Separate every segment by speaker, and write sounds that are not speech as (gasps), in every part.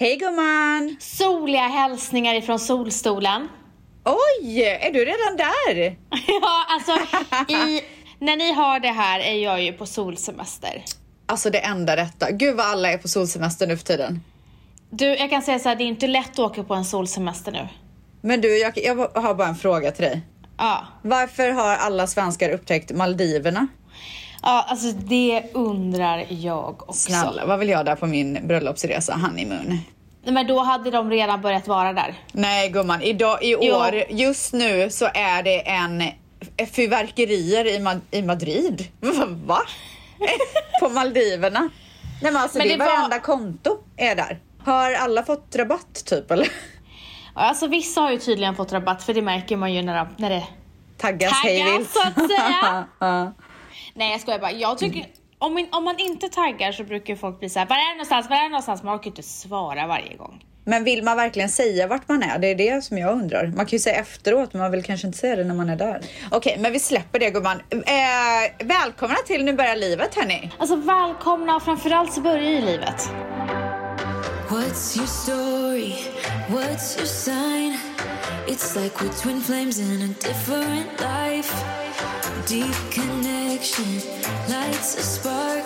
Speaker 1: Hej gumman!
Speaker 2: Soliga hälsningar ifrån solstolen. (laughs)
Speaker 1: Oj, är du redan där?
Speaker 2: ja, alltså i, när ni har det här är jag ju på solsemester.
Speaker 1: Alltså det enda rätta. Gud vad alla är på solsemester nu för tiden.
Speaker 2: Du, jag kan säga så här, det är inte lätt att åka på en solsemester nu.
Speaker 1: Men du, jag, jag har bara en fråga till dig.
Speaker 2: Ja,
Speaker 1: Varför har alla svenskar upptäckt Maldiverna?
Speaker 2: ja alltså det undrar jag också.
Speaker 1: Snälla, vad vill jag där på min bröllopsresa, honeymoon?
Speaker 2: Nej, Men då hade de redan börjat vara där.
Speaker 1: Nej gumman, idag, i
Speaker 2: Jo.
Speaker 1: år, just nu så är det en f- fyrverkerier i, Ma- i Madrid. (laughs) Va? på Maldiverna. Nej men alltså
Speaker 2: Men
Speaker 1: det är
Speaker 2: det var-
Speaker 1: varenda konto är där. Har alla fått rabatt typ eller?
Speaker 2: Ja, Alltså vissa har ju tydligen fått rabatt för det märker man ju när, de, när det...
Speaker 1: Taggas
Speaker 2: Taggas,
Speaker 1: hej vilt.
Speaker 2: så att säga.
Speaker 1: (laughs) ja.
Speaker 2: Nej jag skojar bara, jag tycker... Om, min, om man inte taggar så brukar ju folk bli såhär, var är det någonstans, var är det någonstans? Man orkar ju inte svara varje gång.
Speaker 1: Men vill man verkligen säga vart man är? Det är det som jag undrar. Man kan ju säga efteråt, men man vill kanske inte säga det när man är där. Okej, men vi släpper det gumman. Eh, välkomna till Nu börjar livet hörni.
Speaker 2: Alltså välkomna och framförallt så börjar i livet.
Speaker 3: What's your story? What's your sign? It's like we're twin flames in a different life. Deep connection lights a spark.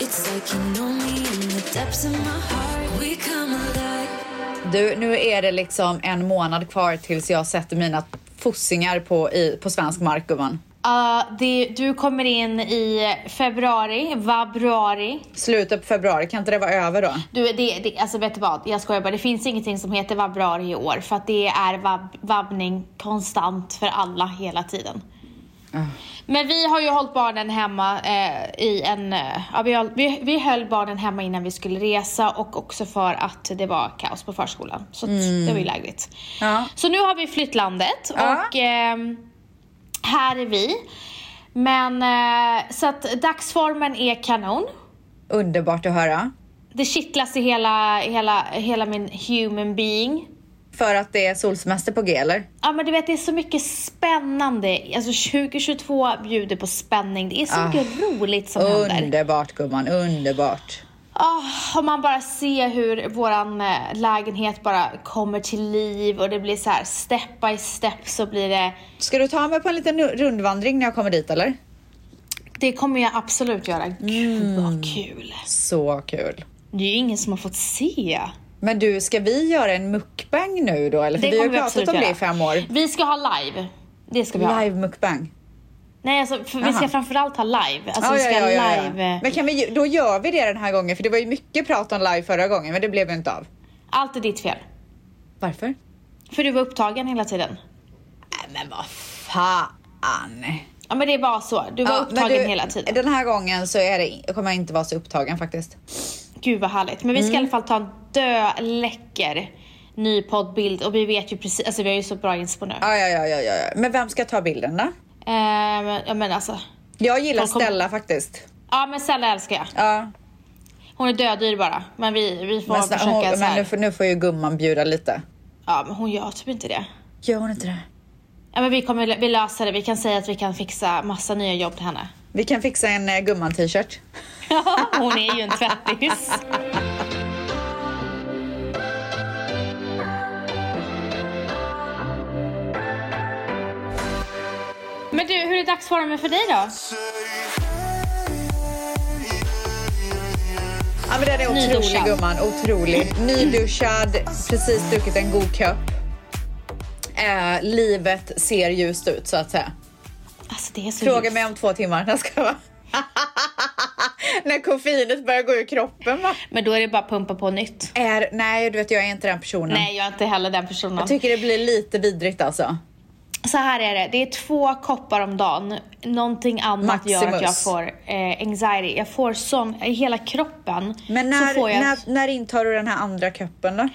Speaker 3: It's like you know me in the depths of my heart. We come alive.
Speaker 1: Du, nu är det liksom en månad kvar tills jag sätter mina fossingar på, i, på svensk mark gumman.
Speaker 2: Ja, det, du kommer in i februari, vabruari.
Speaker 1: Slutet på februari, kan inte det vara över då?
Speaker 2: Du, det, det, alltså vet du vad? Jag skojar bara. Det finns ingenting som heter vabruari i år för att det är vab, vabbning konstant för alla hela tiden. Ah. Men vi har ju hållit barnen hemma eh, i en... Eh, ja, vi, höll, vi, vi höll barnen hemma innan vi skulle resa och också för att det var kaos på förskolan. Så att det var ju lägligt.
Speaker 1: Ja.
Speaker 2: Så nu har vi flytt landet
Speaker 1: Ja.
Speaker 2: och ehm, här är vi. Men eh, så att dagsformen är kanon.
Speaker 1: Underbart att höra.
Speaker 2: Det kittlas i hela, hela, hela min human being.
Speaker 1: För att det är solsemester på G eller?
Speaker 2: Ja men du vet det är så mycket spännande. Alltså 2022 bjuder på spänning. Det är så mycket roligt som händer.
Speaker 1: Ah. Underbart gumman, underbart.
Speaker 2: Oh, om man bara ser hur våran eh, lägenhet bara kommer till liv och det blir så här step by step så blir det.
Speaker 1: Ska du ta mig på en liten rundvandring när jag kommer dit eller?
Speaker 2: Det kommer jag absolut göra. Gud
Speaker 1: Mm.
Speaker 2: vad kul.
Speaker 1: Så kul.
Speaker 2: Det är ju ingen som har fått se.
Speaker 1: Men du, ska vi göra en mukbang nu då? Eller? För
Speaker 2: Det
Speaker 1: vi har ju
Speaker 2: kommer vi
Speaker 1: pratat
Speaker 2: absolut
Speaker 1: om det
Speaker 2: göra.
Speaker 1: i fem år.
Speaker 2: Vi ska ha live. Det ska vi ha.
Speaker 1: Live mukbang.
Speaker 2: Nej alltså för vi
Speaker 1: Jaha.
Speaker 2: ska framförallt ha live. Alltså
Speaker 1: Ja,
Speaker 2: vi ska
Speaker 1: ja, ja, ja, ja.
Speaker 2: live. eh,
Speaker 1: Men kan vi, då gör vi det den här gången, för det var ju mycket prat om live förra gången, men det blev ju inte av.
Speaker 2: Allt är ditt fel.
Speaker 1: Varför?
Speaker 2: För du var upptagen hela tiden.
Speaker 1: Nej, men vad fan.
Speaker 2: Ja men det var så. Du var
Speaker 1: Ja, men
Speaker 2: upptagen
Speaker 1: du,
Speaker 2: hela tiden.
Speaker 1: Den här gången så är det, kommer jag inte vara så upptagen faktiskt.
Speaker 2: Gud vad härligt. Men vi ska
Speaker 1: Mm.
Speaker 2: i alla fall ta en döläcker ny poddbild och vi vet ju precis, alltså vi har ju så bra inspo nu.
Speaker 1: Ja, ja, ja, ja, ja. ja. Men vem ska ta bilden då?
Speaker 2: Ehm, ja men alltså.
Speaker 1: Jag gillar
Speaker 2: Folk kommer-
Speaker 1: Stella faktiskt.
Speaker 2: Ja men Stella älskar jag.
Speaker 1: Ja,
Speaker 2: Hon är dödyr bara. Men vi, vi får
Speaker 1: men, snä-
Speaker 2: försöka
Speaker 1: hon,
Speaker 2: så
Speaker 1: men
Speaker 2: här.
Speaker 1: nu, får, nu får ju gumman bjuda lite.
Speaker 2: Ja men hon gör typ inte det.
Speaker 1: Gör hon inte det?
Speaker 2: Ja men vi kommer, vi löser det. Vi kan säga att vi kan fixa massa nya jobb till henne.
Speaker 1: Vi kan fixa en eh, gumman-t-shirt.
Speaker 2: Ja, (laughs) hon är ju en tvättis. Men du, hur är dagsformen för dig då? Alltså,
Speaker 1: Ja men den är otrolig
Speaker 2: Nyduschad.
Speaker 1: gumman, otrolig. Nyduschad, precis druckit en god kopp. Eh, livet ser ljust ut så att säga.
Speaker 2: Alltså det är så
Speaker 1: Fråga
Speaker 2: ljust.
Speaker 1: mig om två timmar. Jag ska vara. (laughs) När koffeinet börjar gå ur kroppen va?
Speaker 2: Men då är det bara att pumpa på nytt.
Speaker 1: Är, nej du vet jag är inte den personen.
Speaker 2: Nej, jag är inte heller den personen.
Speaker 1: Jag tycker det blir lite vidrigt alltså.
Speaker 2: så här är det, det är två koppar om dagen. Någonting annat gör att jag
Speaker 1: Maximus.
Speaker 2: får eh, anxiety. Jag får sån, i hela kroppen
Speaker 1: Men när,
Speaker 2: så får jag...
Speaker 1: när, när intar du den här andra koppen då?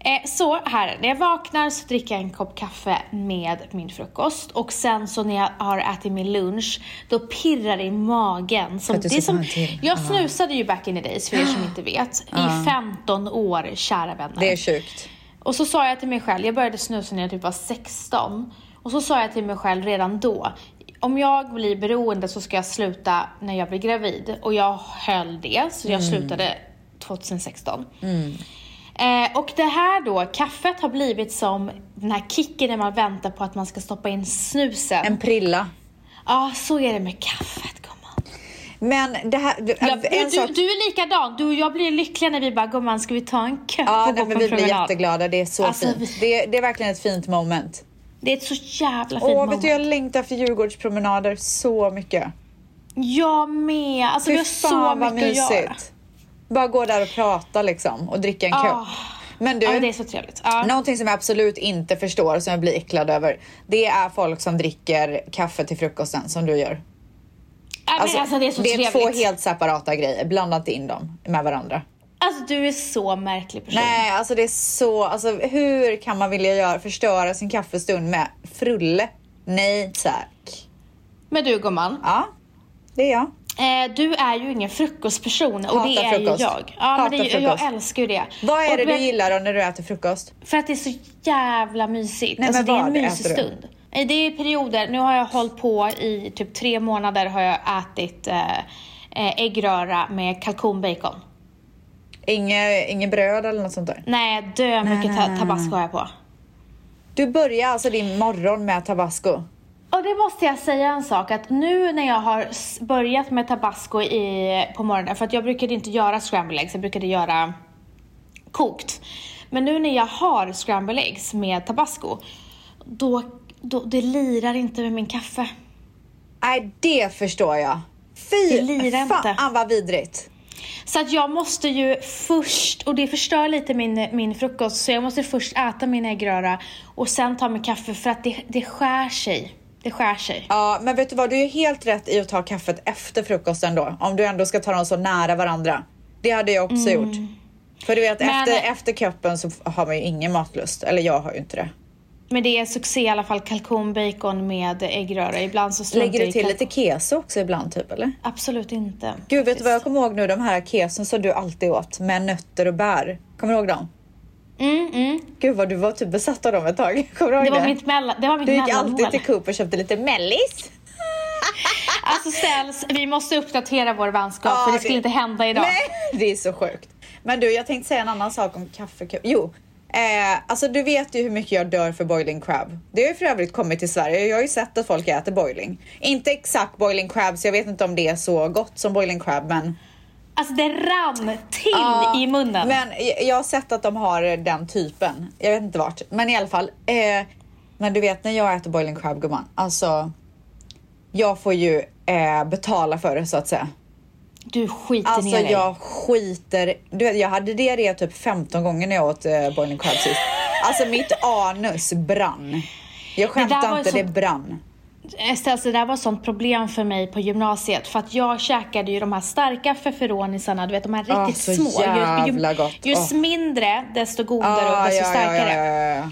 Speaker 2: Eh, så här, när jag vaknar så dricker jag en kopp kaffe med min frukost och sen så när jag har ätit min lunch då pirrar det i magen. Som,
Speaker 1: att du
Speaker 2: det är
Speaker 1: ska ta
Speaker 2: som,
Speaker 1: en till.
Speaker 2: jag snusade ju back in the days för
Speaker 1: (gasps)
Speaker 2: er som inte vet i 15 år kära vänner.
Speaker 1: Det är sjukt.
Speaker 2: Och så sa jag till mig själv, jag började snusa när jag typ var 16. Och så sa jag till mig själv redan då, om jag blir beroende så ska jag sluta när jag
Speaker 1: Mm.
Speaker 2: blir gravid. Och jag höll det, så jag slutade 2016. Eh, och det här då, kaffet har blivit som den här kicken när man väntar på att man ska stoppa in snusen. Ja,
Speaker 1: En prilla.
Speaker 2: så är det med kaffet gumman.
Speaker 1: Men det här...
Speaker 2: Ja,
Speaker 1: Alltså, en
Speaker 2: du,
Speaker 1: sak-
Speaker 2: du, du är likadan, du och jag blir lyckliga när vi bara gumman ska vi ta en kopp
Speaker 1: Ja,
Speaker 2: och
Speaker 1: nej,
Speaker 2: gå
Speaker 1: men
Speaker 2: på
Speaker 1: vi blir
Speaker 2: en promenad?
Speaker 1: jätteglada. Det är så
Speaker 2: Alltså,
Speaker 1: fint.
Speaker 2: vi-
Speaker 1: Det, det är verkligen ett fint moment.
Speaker 2: Det är ett så jävla fint
Speaker 1: Åh, vet
Speaker 2: moment.
Speaker 1: du, jag längtar efter Djurgårdspromenader så mycket.
Speaker 2: Jag med, alltså vi
Speaker 1: Fy
Speaker 2: har så
Speaker 1: fan vad
Speaker 2: mycket att göra.
Speaker 1: mysigt. Bara gå där och prata liksom och dricka en
Speaker 2: Ah.
Speaker 1: kopp. Men du, Mm.
Speaker 2: Ja, men det är så trevligt. Ja.
Speaker 1: någonting som jag absolut inte förstår som jag blir äcklad över. Det är folk som dricker kaffe till frukosten som du gör.
Speaker 2: Ja, men alltså, det är så trevligt.
Speaker 1: två helt separata grejer. Blandat in dem med varandra.
Speaker 2: Alltså du är så märklig person.
Speaker 1: Nej, alltså det är så... Alltså, hur kan man vilja göra, förstöra sin kaffestund med frulle? Nej tack.
Speaker 2: Men du gumman,
Speaker 1: Ja, det är jag.
Speaker 2: eh, du är ju ingen frukostperson och
Speaker 1: Hatar
Speaker 2: det är
Speaker 1: frukost.
Speaker 2: ju jag. Ja,
Speaker 1: Hatar
Speaker 2: men det, jag
Speaker 1: frukost.
Speaker 2: älskar ju det.
Speaker 1: Vad är
Speaker 2: Och
Speaker 1: det
Speaker 2: vet-
Speaker 1: du gillar då när du äter frukost?
Speaker 2: För att det är så jävla mysigt.
Speaker 1: Nej,
Speaker 2: alltså,
Speaker 1: men
Speaker 2: det är
Speaker 1: vad
Speaker 2: en mysig
Speaker 1: äter du?
Speaker 2: stund. Nej, Det är perioder, nu har jag hållit på i typ tre månader har jag ätit eh, eh, äggröra med kalkonbacon.
Speaker 1: Inge, inge bröd eller något sånt där?
Speaker 2: Nej, dö mycket ta- tabasco har jag på.
Speaker 1: Du börjar alltså din morgon med tabasco?
Speaker 2: Och det måste jag säga en sak att nu när jag har s- börjat med tabasco i, på morgonen, för att jag brukade inte göra scrambled eggs, jag brukade göra kokt. Men nu när jag har scrambled eggs med tabasco, då, då det lirar inte med min kaffe.
Speaker 1: Nej, det förstår jag.
Speaker 2: Det
Speaker 1: Fy
Speaker 2: lirar
Speaker 1: fan
Speaker 2: inte.
Speaker 1: vad vidrigt.
Speaker 2: Så att jag måste ju först, och det förstör lite min, min frukost, så jag måste först äta min äggröra och sen ta min kaffe för att det, det skär sig. Det skär sig.
Speaker 1: Ja, men vet du vad? Du är helt rätt i att ta kaffet efter frukosten då. Om du ändå ska ta dem så nära varandra. Det hade jag också gjort. För du vet,
Speaker 2: Mm. Men-
Speaker 1: efter, efter kuppen så har man ju ingen matlust. Eller jag har ju inte det.
Speaker 2: Men det är succé i alla fall, kalkonbacon med äggröra. Ibland så struntar
Speaker 1: Lägger
Speaker 2: jag
Speaker 1: du
Speaker 2: i
Speaker 1: till
Speaker 2: kalkon.
Speaker 1: lite keso också ibland typ, eller?
Speaker 2: Absolut inte.
Speaker 1: Gud, vet du vad jag kommer ihåg nu? De här keson som du alltid åt med nötter och bär. Kommer du ihåg dem?
Speaker 2: Mm, mm.
Speaker 1: Gud vad du var typ besatt av dem ett tag. (laughs) Kommer du ihåg
Speaker 2: Det
Speaker 1: det?
Speaker 2: var mitt, mellan, det var mitt
Speaker 1: du gick
Speaker 2: mellanmål.
Speaker 1: alltid till Coop och köpte lite mellis.
Speaker 2: Alltså ställs, vi måste uppdatera vår vänskap för det skulle inte hända idag.
Speaker 1: Nej, (laughs) det är så sjukt. Men du, jag tänkte säga en annan sak om kaffekupp. Jo, eh, alltså du vet ju hur mycket jag dör för boiling crab. Det har ju för övrigt kommit till Sverige. Jag har ju sett att folk äter boiling. Inte exakt boiling crab, så jag vet inte om det är så gott som boiling crab, men...
Speaker 2: Alltså det rann till i munnen.
Speaker 1: Men jag- jag har sett att de har den typen. Jag vet inte vart, men i alla fall. Eh, men du vet när jag äter boiling crab, gumman. Alltså, jag får ju eh, betala för det så att säga.
Speaker 2: Du skiter
Speaker 1: Alltså
Speaker 2: ner dig.
Speaker 1: jag skiter du vet, Jag hade diarré typ 15 gånger när jag åt eh, boiling crab sist. Alltså mitt anus brann. Jag
Speaker 2: där
Speaker 1: skämtar
Speaker 2: var
Speaker 1: inte,
Speaker 2: ju
Speaker 1: det
Speaker 2: så-
Speaker 1: brann.
Speaker 2: Estelle, så Eh, det där var ett sånt problem för mig på gymnasiet för att jag käkade ju de här starka feferonisarna, du vet de här
Speaker 1: Ah,
Speaker 2: riktigt
Speaker 1: så
Speaker 2: små. Ju-
Speaker 1: jävla
Speaker 2: ju,
Speaker 1: gott.
Speaker 2: ju,
Speaker 1: Åh.
Speaker 2: mindre desto godare och
Speaker 1: Ah,
Speaker 2: desto starkare.
Speaker 1: ja.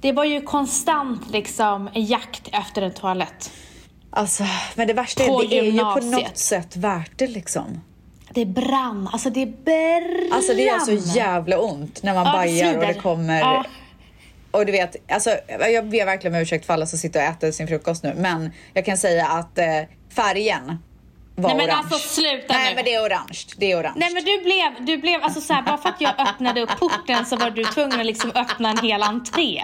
Speaker 2: Det var ju konstant liksom en jakt efter en toalett.
Speaker 1: Alltså, men det värsta är,
Speaker 2: På
Speaker 1: det är ju på
Speaker 2: gymnasiet.
Speaker 1: något sätt värt det liksom.
Speaker 2: Det brann, alltså det brann!
Speaker 1: Alltså det gör så jävla ont när man
Speaker 2: Ja, det
Speaker 1: bajar och det
Speaker 2: svider.
Speaker 1: kommer.
Speaker 2: Ja.
Speaker 1: Och du vet, alltså, jag ber verkligen om ursäkt för alla som sitter och äter sin frukost nu, men jag kan säga att eh, färgen var
Speaker 2: Nej men
Speaker 1: orange.
Speaker 2: alltså sluta
Speaker 1: Nej
Speaker 2: nu.
Speaker 1: men det är orange, det är orange.
Speaker 2: Nej men du blev, du blev alltså såhär, bara för att jag öppnade upp porten så var du tvungen att liksom öppna en hel entré.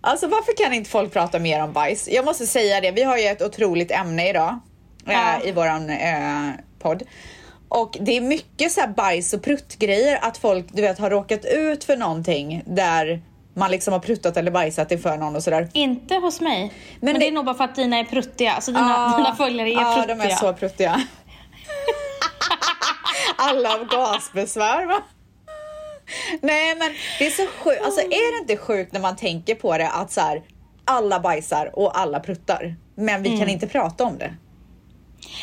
Speaker 1: Alltså varför kan inte folk prata mer om bajs? Jag måste säga det, vi har ju ett otroligt ämne idag
Speaker 2: Ja.
Speaker 1: eh, i våran eh, podd. Och det är mycket så här bajs och pruttgrejer, att folk du vet har råkat ut för någonting där man liksom har pruttat eller bajsat inför någon och sådär.
Speaker 2: Inte hos mig. Men,
Speaker 1: det-
Speaker 2: det... är nog bara för att dina är pruttiga, alltså dina, dina följare är
Speaker 1: ja,
Speaker 2: pruttiga.
Speaker 1: Ah, de är så pruttiga. Alla har gasbesvär va? Nej men det är så sjukt, alltså är det inte sjukt när man tänker på det att så här, alla bajsar och alla pruttar, men vi
Speaker 2: Mm.
Speaker 1: kan inte prata om det.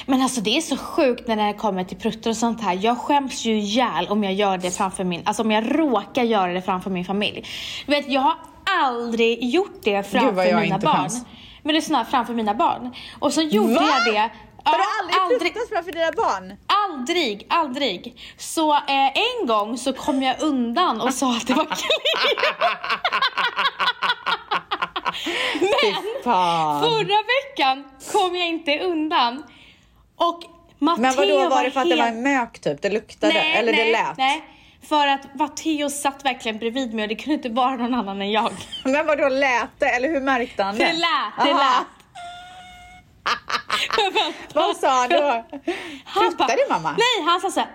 Speaker 2: Men alltså det är så sjukt när det kommer till pruttar och sånt här. Jag skäms ju ihjäl om jag gör det framför min, alltså om jag råkar göra det framför min familj. Du vet, jag har aldrig gjort det
Speaker 1: Gud, vad
Speaker 2: framför
Speaker 1: jag
Speaker 2: mina
Speaker 1: inte
Speaker 2: barn.
Speaker 1: skäms.
Speaker 2: Men det är snarare framför mina barn. Och så gjorde
Speaker 1: Va?
Speaker 2: jag det.
Speaker 1: Har
Speaker 2: Ja,
Speaker 1: du aldrig, pruttat framför dina barn?
Speaker 2: Aldrig, aldrig. Så eh, en gång så kom jag undan och sa att det
Speaker 1: (laughs)
Speaker 2: var klipp. Men
Speaker 1: Fy fan.
Speaker 2: förra veckan kom jag inte undan. Och Matteo
Speaker 1: Men vadå, var det för att det var
Speaker 2: helt-
Speaker 1: en mök typ? Det luktade? eller det lät?
Speaker 2: Nej. För att Matteo satt verkligen bredvid mig och det kunde inte vara någon annan
Speaker 1: (laughs)
Speaker 2: än jag.
Speaker 1: Men vadå lät det eller hur märkte han det?
Speaker 2: Det lät, det
Speaker 1: Aha.
Speaker 2: lät. Jag väntar.
Speaker 1: (laughs) Vad sa han då?
Speaker 2: Han
Speaker 1: Pruttar
Speaker 2: bara,
Speaker 1: du, mamma?
Speaker 2: Nej, han sa såhär,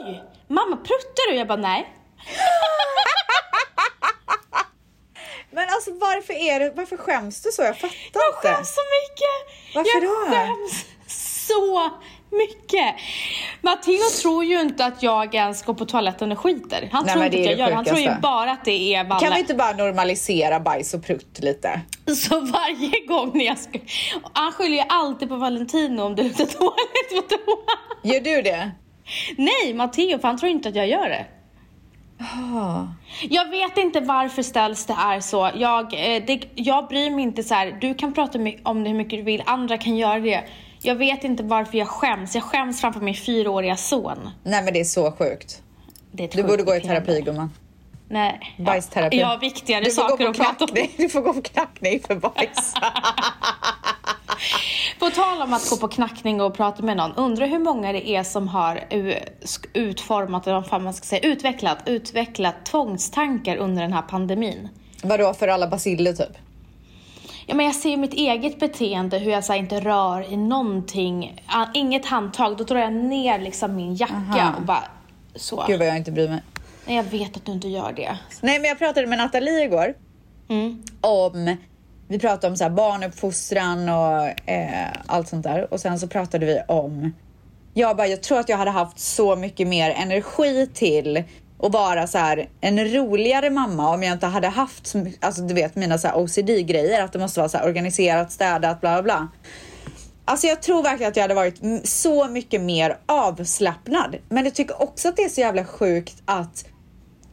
Speaker 2: oj, mamma pruttar du? Jag bara, nej.
Speaker 1: Men alltså varför är det, varför skäms du så? Jag fattar
Speaker 2: Jag
Speaker 1: inte.
Speaker 2: skäms så mycket!
Speaker 1: Varför
Speaker 2: jag
Speaker 1: då?
Speaker 2: skäms så mycket! Matteo tror ju inte att jag ens går på toaletten och skiter. Han
Speaker 1: Nej,
Speaker 2: tror
Speaker 1: men
Speaker 2: inte
Speaker 1: det är
Speaker 2: att jag
Speaker 1: det
Speaker 2: gör det. Han tror ju
Speaker 1: sjukaste.
Speaker 2: bara att det är
Speaker 1: Kan
Speaker 2: Valle.
Speaker 1: vi inte bara normalisera bajs och prutt lite?
Speaker 2: Så varje gång när jag ska... Han skyller ju alltid på Valentino om det luktar (laughs) dåligt på toan.
Speaker 1: Gör du det?
Speaker 2: Nej, Matteo, för han tror inte att jag gör det.
Speaker 1: Ah.
Speaker 2: Jag vet inte varför ställs det är så. Jag, eh, det, jag bryr mig inte så här. du kan prata my- om det hur mycket du vill, andra kan göra det. Jag vet inte varför jag skäms. Jag skäms framför min fyraåriga son.
Speaker 1: Nej men det är så sjukt.
Speaker 2: Det är ett
Speaker 1: Du borde
Speaker 2: sjukt
Speaker 1: gå i
Speaker 2: beteende.
Speaker 1: terapi gumman.
Speaker 2: Nej.
Speaker 1: Bajsterapi.
Speaker 2: Jag har viktigare
Speaker 1: Du får gå
Speaker 2: saker
Speaker 1: på
Speaker 2: att prata om.
Speaker 1: knackning- (laughs) Du får gå på knackning för
Speaker 2: (laughs)
Speaker 1: bajs.
Speaker 2: På tal om att gå på knackning och prata med någon, undrar hur många det är som har u- sk- utformat, eller vad fan man ska säga, utvecklat, utvecklat tvångstankar under den här pandemin.
Speaker 1: Vadå för alla basiller typ?
Speaker 2: Ja, men jag ser ju mitt eget beteende, hur jag så här, inte rör i någonting. Ah, Inget handtag, då drar jag ner liksom min jacka
Speaker 1: Aha.
Speaker 2: och bara så.
Speaker 1: Gud vad jag inte bryr mig.
Speaker 2: Nej, jag vet att du inte gör det.
Speaker 1: Nej men jag pratade med Nathalie igår
Speaker 2: Mm.
Speaker 1: om vi pratade om så här barnuppfostran och eh, allt sånt där. Och sen så pratade vi om... Jag bara, jag tror att jag hade haft så mycket mer energi till att vara så här en roligare mamma om jag inte hade haft, så my- alltså du vet mina så här OCD-grejer, att det måste vara så här organiserat, städat, bla bla bla. Alltså jag tror verkligen att jag hade varit m- så mycket mer avslappnad. Men jag tycker också att det är så jävla sjukt att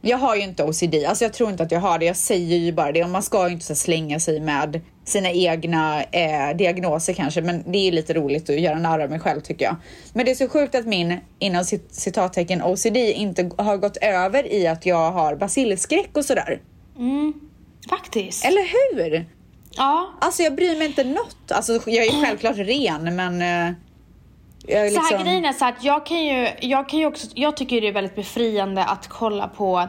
Speaker 1: jag har ju inte OCD, alltså jag tror inte att jag har det. Jag säger ju bara det. Och Man ska ju inte så slänga sig med sina egna eh, diagnoser kanske, men det är ju lite roligt att göra narr av mig själv tycker jag. Men det är så sjukt att min, inom cit- citattecken, OCD inte g- har gått över i att jag har basilskräck och sådär.
Speaker 2: Faktiskt.
Speaker 1: Eller hur?
Speaker 2: Ja.
Speaker 1: Alltså jag bryr mig inte något. Alltså jag är ju självklart ren, men... Eh, jag är
Speaker 2: Så här
Speaker 1: liksom...
Speaker 2: grejen är så här att jag kan ju, jag kan ju också, jag tycker det är väldigt befriande att kolla på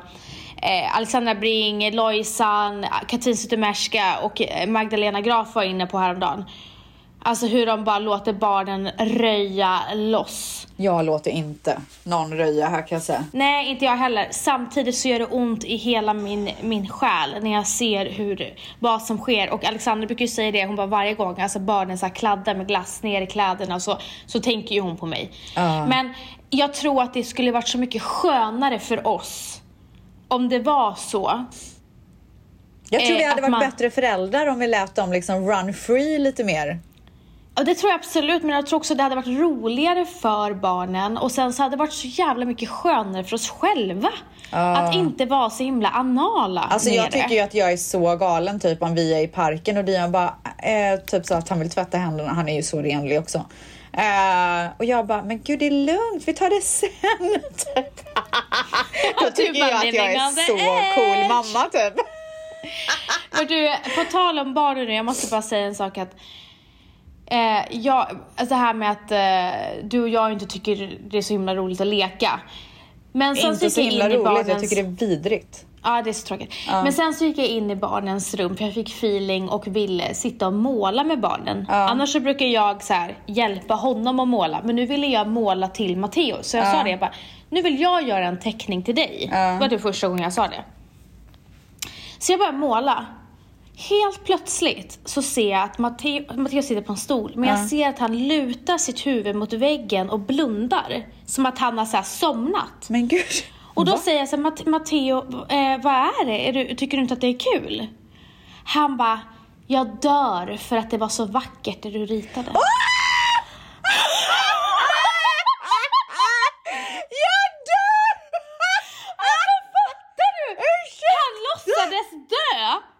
Speaker 2: eh, Alexandra Bring, Lojsan, Katrin Zytomierska och eh, Magdalena Graf var inne på häromdagen. Alltså hur de bara låter barnen röja loss.
Speaker 1: Jag låter inte någon röja här kan jag säga.
Speaker 2: Nej, inte jag heller. Samtidigt så gör det ont i hela min, min själ när jag ser hur, vad som sker. Och Alexandra brukar ju säga det, hon bara varje gång alltså barnen så här kladdar med glass ner i kläderna och så, så tänker ju hon på mig.
Speaker 1: Ja.
Speaker 2: Men jag tror att det skulle varit så mycket skönare för oss om det var så.
Speaker 1: Jag tror
Speaker 2: Eh,
Speaker 1: vi hade
Speaker 2: att
Speaker 1: varit
Speaker 2: man-
Speaker 1: bättre föräldrar om vi lät dem liksom run free lite mer.
Speaker 2: Ja, det tror jag absolut, men jag tror också det hade varit roligare för barnen och sen så hade det varit så jävla mycket skönare för oss själva. Att inte vara så himla anala
Speaker 1: Alltså
Speaker 2: med
Speaker 1: jag
Speaker 2: det.
Speaker 1: tycker ju att jag är så galen typ om vi är i parken och Dion bara eh, typ så att han vill tvätta händerna, han är ju så renlig också. Eh, och jag bara, men gud det är lugnt, vi tar det sen. (laughs) Typ. Då
Speaker 2: du
Speaker 1: tycker
Speaker 2: bara,
Speaker 1: jag att jag
Speaker 2: "Living
Speaker 1: är
Speaker 2: on the
Speaker 1: så cool
Speaker 2: edge."
Speaker 1: mamma typ.
Speaker 2: Och du, på tal om barnen nu, jag måste bara säga en sak att Eh, jag, alltså det här med att eh, du och jag inte tycker det är så himla roligt att leka. Men sen
Speaker 1: Inte
Speaker 2: gick
Speaker 1: så
Speaker 2: jag
Speaker 1: himla
Speaker 2: in i
Speaker 1: roligt, jag
Speaker 2: barnens-
Speaker 1: tycker det är vidrigt.
Speaker 2: Ja, det är så tråkigt. Men sen så gick jag in i barnens rum för jag fick feeling och ville sitta och måla med barnen. Annars så brukar jag så här, hjälpa honom att måla, men nu ville jag måla till Matteo. Så jag sa det, jag bara, nu vill jag göra en teckning till dig. Det var det första gången jag sa det. Så jag började måla. Helt plötsligt så ser jag att Matteo, Matteo sitter på en stol, men jag ser att han lutar sitt huvud mot väggen och blundar. Som att han har så här somnat.
Speaker 1: Men gud.
Speaker 2: Och
Speaker 1: Mm.
Speaker 2: då säger jag så här, "Matt- Matteo, eh, vad är det? Är du, tycker du inte att det är kul? Han bara, jag dör för att det var så vackert det du ritade.
Speaker 1: jag dör!
Speaker 2: Alltså fattar du? Han låtsades dö!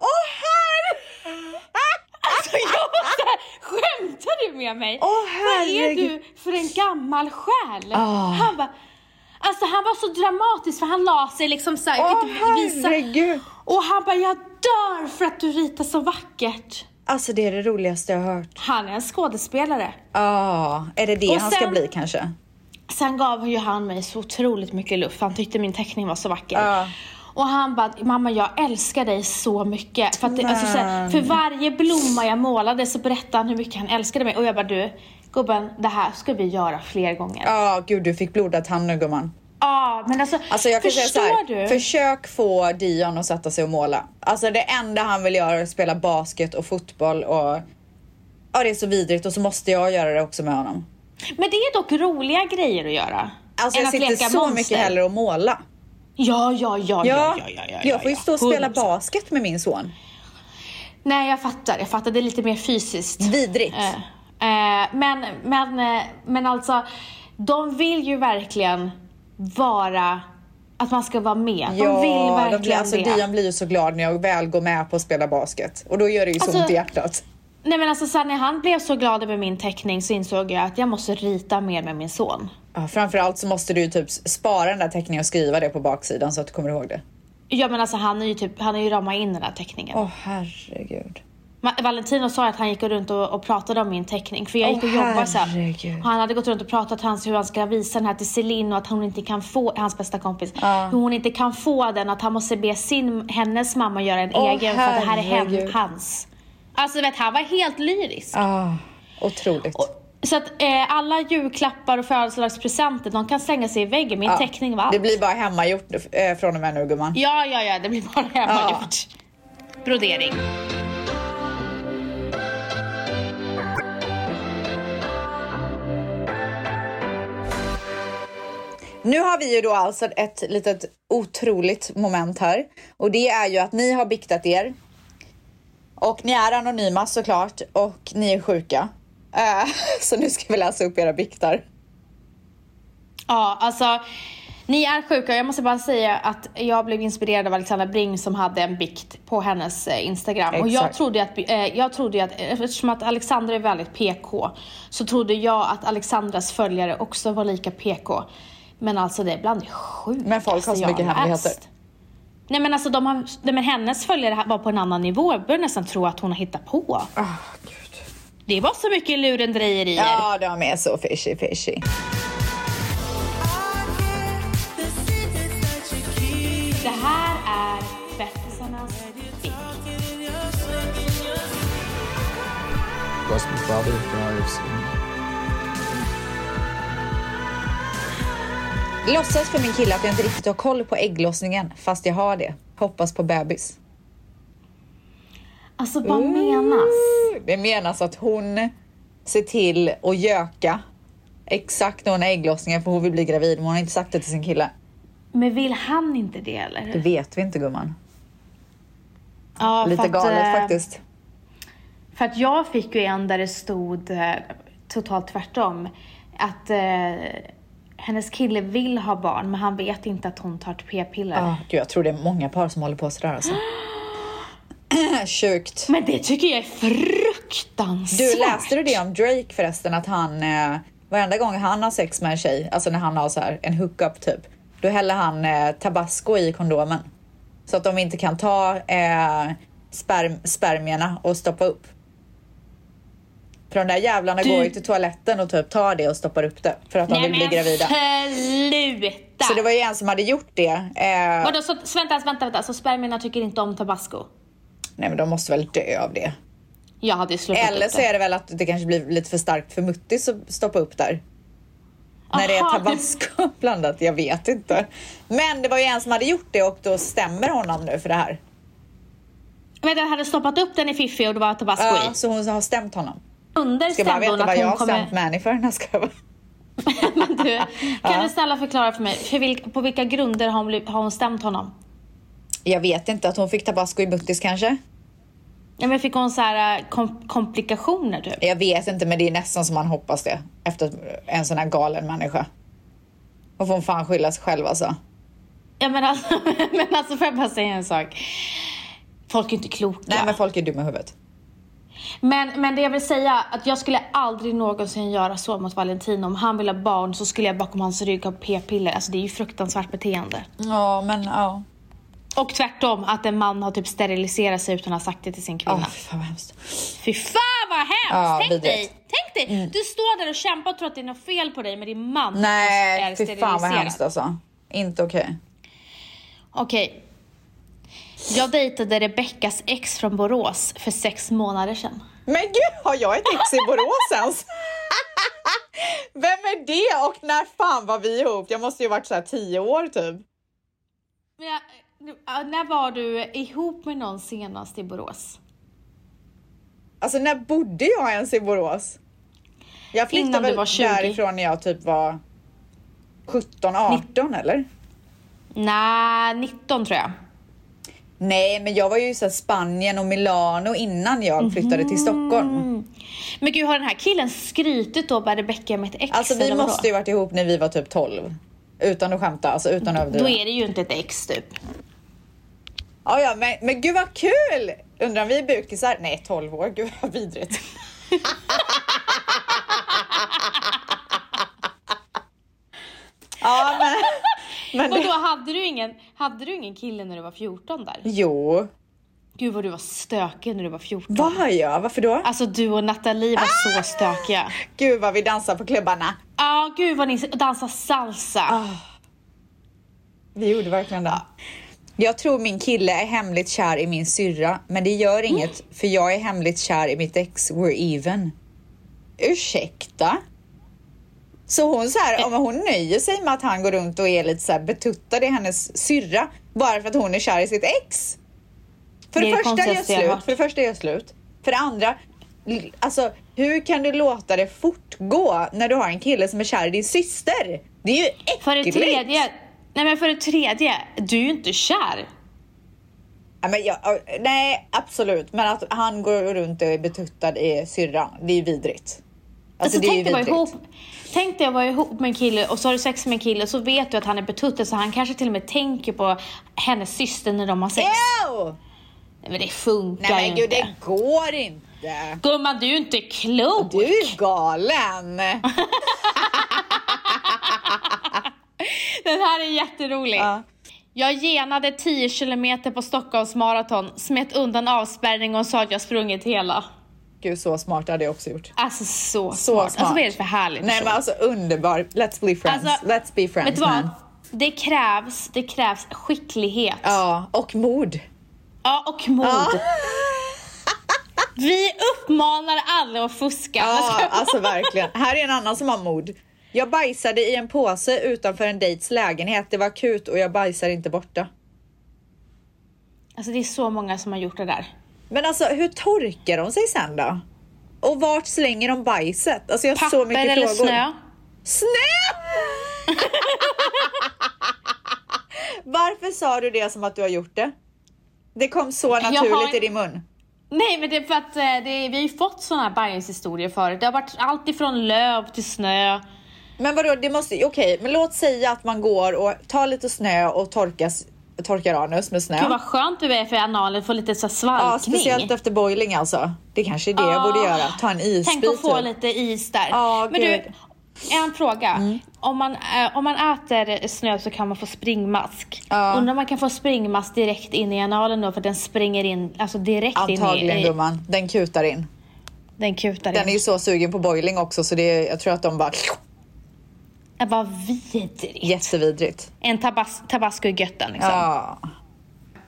Speaker 1: Åh herre!
Speaker 2: Alltså jag var (laughs) så här, skämtar du med mig?
Speaker 1: Åh,
Speaker 2: vad är
Speaker 1: herregud.
Speaker 2: du för en gammal själ?
Speaker 1: Ah.
Speaker 2: Han bara, alltså han var så dramatisk för han la sig liksom såhär, jag
Speaker 1: Åh
Speaker 2: kan inte visa.
Speaker 1: herregud.
Speaker 2: Och han bara, jag dör för att du ritar så vackert.
Speaker 1: Alltså det är det roligaste jag har hört.
Speaker 2: Han är en skådespelare.
Speaker 1: Ja, är det det
Speaker 2: Och
Speaker 1: han ska
Speaker 2: sen-
Speaker 1: bli kanske?
Speaker 2: Sen gav hon ju han mig så otroligt mycket luft, för han tyckte min teckning var så vacker.
Speaker 1: Ja.
Speaker 2: Och han bara, mamma jag älskar dig så mycket. För, att, det- alltså, så här,
Speaker 1: Men.
Speaker 2: för varje blomma jag målade så berättade han hur mycket han älskade mig. Och jag bara, du gubben, det här ska vi göra fler gånger. Ja,
Speaker 1: Ja, gud du fick blodad tand nu gumman.
Speaker 2: men alltså,
Speaker 1: Alltså jag kan
Speaker 2: förstår
Speaker 1: säga så här,
Speaker 2: du?
Speaker 1: försök få Dion att sätta sig och måla. Alltså det enda han vill göra är att spela basket och fotboll och ja det är så vidrigt och så måste jag göra det också med honom.
Speaker 2: Men det är dock roliga grejer att göra.
Speaker 1: Alltså
Speaker 2: än
Speaker 1: jag
Speaker 2: att
Speaker 1: sitter
Speaker 2: leka
Speaker 1: så
Speaker 2: monster.
Speaker 1: mycket hellre och måla.
Speaker 2: Ja, ja, ja, ja, ja, ja, ja, ja
Speaker 1: jag får ju
Speaker 2: ja.
Speaker 1: stå och spela
Speaker 2: 100%.
Speaker 1: basket med min son.
Speaker 2: Nej, jag fattar. Jag fattar. Det är lite mer fysiskt.
Speaker 1: Vidrigt.
Speaker 2: Eh, eh, men, men, eh, men alltså, de vill ju verkligen vara, att man ska vara med. De vill
Speaker 1: de
Speaker 2: verkligen
Speaker 1: blir, alltså,
Speaker 2: det.
Speaker 1: Dion blir ju så glad när jag väl går med på att spela basket. Och då gör det ju så
Speaker 2: Alltså-
Speaker 1: ont i hjärtat.
Speaker 2: Nej men alltså sen när han blev så glad över min teckning så insåg jag att jag måste rita mer med min son.
Speaker 1: Ja, framförallt så måste du ju typ spara den där teckningen och skriva det på baksidan så att du kommer ihåg det.
Speaker 2: Ja men alltså han är ju typ, han är ju ramat in den här teckningen.
Speaker 1: Åh herregud.
Speaker 2: Ma- Valentino sa att han gick runt och, och pratade om min teckning. För jag
Speaker 1: Åh,
Speaker 2: gick och jobbade sen.
Speaker 1: herregud.
Speaker 2: Och han hade gått runt och pratat om hur han ska visa den här till Celine och att hon inte kan få, hans bästa kompis, hur hon inte kan få den. Att han måste be sin, hennes mamma göra en
Speaker 1: Åh,
Speaker 2: egen för att det här är hen,
Speaker 1: herregud.
Speaker 2: hans. Alltså du vet, han var helt lyrisk.
Speaker 1: Ah, otroligt.
Speaker 2: Så att eh, alla julklappar och födelsedagspresenter, de kan slänga sig i väggen. Min
Speaker 1: Ja.
Speaker 2: teckning var allt.
Speaker 1: Det blir bara hemmagjort eh, från och med nu gumman.
Speaker 2: Ja, ja, ja, det blir bara hemmagjort. Brodering.
Speaker 1: Nu har vi ju då alltså ett litet otroligt moment här. Och det är ju att ni har biktat er. Och ni är anonyma såklart och ni är sjuka. Eh, (laughs) så nu ska vi läsa upp era biktar.
Speaker 2: Ja, alltså ni är sjuka. Jag måste bara säga att jag blev inspirerad av Alexandra Bring som hade en bikt på hennes eh, Instagram. Och jag
Speaker 1: Exakt.
Speaker 2: trodde ju att, eh, jag trodde ju att, eftersom att Alexandra är väldigt PK, så trodde jag att Alexandras följare också var lika PK. Men alltså det är bland det sjukaste
Speaker 1: Men folk har så
Speaker 2: jag
Speaker 1: mycket
Speaker 2: läst.
Speaker 1: hemligheter.
Speaker 2: Nej men alltså de har, nej, men hennes följare var på en annan nivå. Jag börjar nästan tro att hon har hittat på.
Speaker 1: Oh, Gud.
Speaker 2: Det var så mycket lurendrejerier.
Speaker 1: Ja, de är så fishy fishy.
Speaker 2: Det här är tvättisarnas bikt.
Speaker 4: was my father when I was in
Speaker 1: Låtsas för min kille att jag inte riktigt har koll på ägglossningen, fast jag har det. Hoppas på bebis.
Speaker 2: Alltså vad
Speaker 1: Mm.
Speaker 2: menas?
Speaker 1: Det menas att hon ser till att göka exakt när hon har ägglossningen för hon vill bli gravid men hon har inte sagt det till sin kille.
Speaker 2: Men vill han inte det eller?
Speaker 1: Det vet vi inte gumman.
Speaker 2: Ja,
Speaker 1: Lite
Speaker 2: för att, eh,
Speaker 1: galet faktiskt.
Speaker 2: För att jag fick ju en där det stod eh, totalt tvärtom. Att eh, hennes kille vill ha barn men han vet inte att hon tar p-piller.
Speaker 1: Ah, gud, jag tror det är många par som håller på sådär alltså. (clears throat) Sjukt.
Speaker 2: Men det tycker jag är
Speaker 1: Du,
Speaker 2: fruktansvärt.
Speaker 1: läste du det om Drake förresten? Att han, eh, varenda gång han har sex med en tjej, alltså när han har så här en hookup typ, då häller han eh, tabasco i kondomen. Så att de inte kan ta eh, sperm, spermierna och stoppa upp. För de där jävlarna går ju till toaletten och typ tar det och stoppar upp det. För att de vill bli gravida.
Speaker 2: sluta!
Speaker 1: Så det var ju en som hade gjort det. Eh,
Speaker 2: Vadå, så, så vänta, vänta, vänta. Så spermierna tycker inte om tabasco?
Speaker 1: nej men de måste väl dö av det.
Speaker 2: Jag hade ju slutat
Speaker 1: Eller så är det väl att det kanske blir lite för starkt för Muttis att stoppa upp där. När det är
Speaker 2: Aha.
Speaker 1: tabasco (laughs) blandat, jag vet inte. Men det var ju en som hade gjort det och då stämmer honom nu för det här.
Speaker 2: Vänta, jag hade stoppat upp den i Fifi och det var tabasco
Speaker 1: Ja,
Speaker 2: i.
Speaker 1: så hon har stämt honom.
Speaker 2: Under
Speaker 1: Ska bara
Speaker 2: stämde
Speaker 1: veta
Speaker 2: hon
Speaker 1: vad
Speaker 2: att
Speaker 1: jag
Speaker 2: hon
Speaker 1: har
Speaker 2: kommer...
Speaker 1: stämt Mani för. När ska jag... vara-
Speaker 2: (laughs) Men du, kan du snälla förklara för mig, för vilk, på vilka grunder har hon, bli- har hon stämt honom?
Speaker 1: (laughs) Jag vet inte, att hon fick tabasco i Muttis kanske?
Speaker 2: Ja, men fick hon så här eh, kom, komplikationer typ?
Speaker 1: Jag vet inte, men det är nästan som man hoppas det. Efter en sån här galen människa. Och får hon fan skylla sig själv alltså.
Speaker 2: Ja, men, alltså, (laughs) men alltså får jag bara säga en sak? Folk är inte kloka.
Speaker 1: Nej men folk är dumma i huvudet.
Speaker 2: Men, men det jag vill säga, att jag skulle aldrig någonsin göra så mot Valentino. Om han vill ha barn så skulle jag bakom hans rygg ha p-piller. Alltså det är ju fruktansvärt beteende.
Speaker 1: Ja men ja.
Speaker 2: Och tvärtom, att en man har typ steriliserat sig utan att ha sagt det till sin
Speaker 1: Åh
Speaker 2: kvinna.
Speaker 1: fy fan vad hemskt.
Speaker 2: Fy fan vad hemskt!
Speaker 1: Ja,
Speaker 2: tänk dig,
Speaker 1: vidrigt. Mm.
Speaker 2: tänk Tänk dig, du står där och kämpar och tror att det är något fel på dig med din man som
Speaker 1: Nej,
Speaker 2: är
Speaker 1: fy fan vad
Speaker 2: steriliserad.
Speaker 1: hemskt alltså. Inte okej.
Speaker 2: Okej. Jag dejtade Rebeckas ex från Borås för sex månader sedan.
Speaker 1: Men gud, har jag ett ex i Borås ens? Vem är det och när fan var vi ihop? Jag måste ju varit så här tio år typ.
Speaker 2: Men jag, nu, ja, när var du ihop med någon senast i Borås?
Speaker 1: Alltså när bodde jag ens i Borås? Jag flyttade
Speaker 2: Innan du
Speaker 1: väl
Speaker 2: var 20.
Speaker 1: därifrån när jag typ var 17, 18 eller?
Speaker 2: Nej, 19 tror jag.
Speaker 1: Nej, men jag var ju i så här Spanien och Milano innan
Speaker 2: Mhm.
Speaker 1: jag flyttade till Stockholm.
Speaker 2: Men gud, har den här killen skrytit då med Rebecka med ett ex?
Speaker 1: Alltså vi
Speaker 2: eller vadå?
Speaker 1: måste ju varit ihop när vi var typ 12. Utan att skämta, alltså utan att
Speaker 2: Då
Speaker 1: överdriva.
Speaker 2: är det ju inte ett ex typ.
Speaker 1: Ja, ja, men, men gud vad kul! Undrar om vi är bukisar? Nej, 12 år. Gud vad vidrigt. ja, men... men
Speaker 2: Och
Speaker 1: det,
Speaker 2: då hade du, ingen, hade du ingen kille när du var 14 där?
Speaker 1: jo.
Speaker 2: Gud vad du var stökig när du var 14.
Speaker 1: Var jag? Varför då?
Speaker 2: Alltså du och Nathalie var
Speaker 1: Ah!
Speaker 2: så stökiga.
Speaker 1: Gud vad vi dansar på klubbarna.
Speaker 2: Ja, gud vad ni dansade salsa.
Speaker 1: Ah, Vi gjorde verkligen det. Jag tror min kille är hemligt kär i min syrra, men det gör inget för jag är hemligt kär i mitt ex. We're even. Ursäkta? Så hon så här, om hon nöjer sig med att han går runt och är lite så här betuttad i hennes syrra bara för att hon är kär i sitt ex? För
Speaker 2: Det
Speaker 1: det,
Speaker 2: är det
Speaker 1: första är jag
Speaker 2: konstigaste jag
Speaker 1: slut,
Speaker 2: har hört.
Speaker 1: för det första är jag slut. För det andra, l- alltså hur kan du låta det fortgå när du har en kille som är kär i din syster? Det är ju äckligt!
Speaker 2: För det tredje, nej men för det tredje, du är ju inte
Speaker 1: Alltså,
Speaker 2: kär.
Speaker 1: Ja, men jag, nej, absolut. Men att han går runt och är betuttad i syrran, det är vidrigt.
Speaker 2: Alltså,
Speaker 1: det är
Speaker 2: tänk, dig vara
Speaker 1: vidrigt.
Speaker 2: ihop, tänk dig att vara ihop med en kille och så har du sex med en kille och så vet du att han är betuttad så han kanske till och med tänker på hennes syster när de har sex.
Speaker 1: Ew!
Speaker 2: Nej men det funkar
Speaker 1: Eh! Nej men
Speaker 2: ju
Speaker 1: gud,
Speaker 2: inte.
Speaker 1: det går inte.
Speaker 2: Gumman du är ju inte klok!
Speaker 1: Du är galen.
Speaker 2: Den här är jätterolig.
Speaker 1: Ja.
Speaker 2: Jag genade 10 kilometer på Stockholms maraton, smet undan avspärrning och sa att jag sprungit hela.
Speaker 1: Gud, så smart hade jag också gjort.
Speaker 2: Alltså så,
Speaker 1: Så smart.
Speaker 2: Alltså vad är det för härlig
Speaker 1: Nej
Speaker 2: person?
Speaker 1: men alltså underbar. Let's be friends.
Speaker 2: Alltså,
Speaker 1: Let's be
Speaker 2: Vet
Speaker 1: friends
Speaker 2: du vad?
Speaker 1: man.
Speaker 2: Det krävs, det krävs skicklighet.
Speaker 1: Ja, och mod.
Speaker 2: Ja, och mod.
Speaker 1: Ja,
Speaker 2: (laughs) Vi uppmanar alla att fuska.
Speaker 1: ja alltså verkligen. Här är en annan som har mod. Jag bajsade i en påse utanför en dejts lägenhet. Det var akut och jag bajsar inte borta.
Speaker 2: Alltså det är så många som har gjort det där.
Speaker 1: Men alltså hur torkar de sig sen då? Och vart slänger de bajset? Alltså jag har så
Speaker 2: Papper
Speaker 1: mycket
Speaker 2: eller
Speaker 1: frågor.
Speaker 2: snö?
Speaker 1: Snö! Varför sa du det som att du har gjort det? Det kom så
Speaker 2: har
Speaker 1: naturligt
Speaker 2: en-
Speaker 1: i din mun.
Speaker 2: Nej men det är för att eh, det är, vi har ju fått såna här bajshistorier förut. Det har varit allt ifrån löv till snö.
Speaker 1: Men vadå, det måste okej, men låt säga att man går och tar lite snö och torkas, torkar anus med snö.
Speaker 2: Gud vad skönt det är för analen, få lite så här
Speaker 1: Ja,
Speaker 2: svalkning.
Speaker 1: speciellt efter boiling alltså. Det kanske är det jag borde göra. Ta en isbit.
Speaker 2: Ah, Tänk att få
Speaker 1: typ.
Speaker 2: lite is där.
Speaker 1: Ja,
Speaker 2: men du,
Speaker 1: gud. Mm.
Speaker 2: en fråga. Om, man, eh, om man äter snö så kan man få springmask.
Speaker 1: Ja.
Speaker 2: Undrar om man kan få springmask direkt in i analen då för den springer in, alltså direkt in
Speaker 1: Antagligen
Speaker 2: i, i
Speaker 1: gumman, den kutar in.
Speaker 2: den kutar
Speaker 1: Den är
Speaker 2: in.
Speaker 1: ju så sugen på boiling också så det är, jag tror att de bara
Speaker 2: Är... Äh, Vad vidrigt.
Speaker 1: jättevidrigt.
Speaker 2: En tabas, tabasco i götten liksom.
Speaker 1: Ja.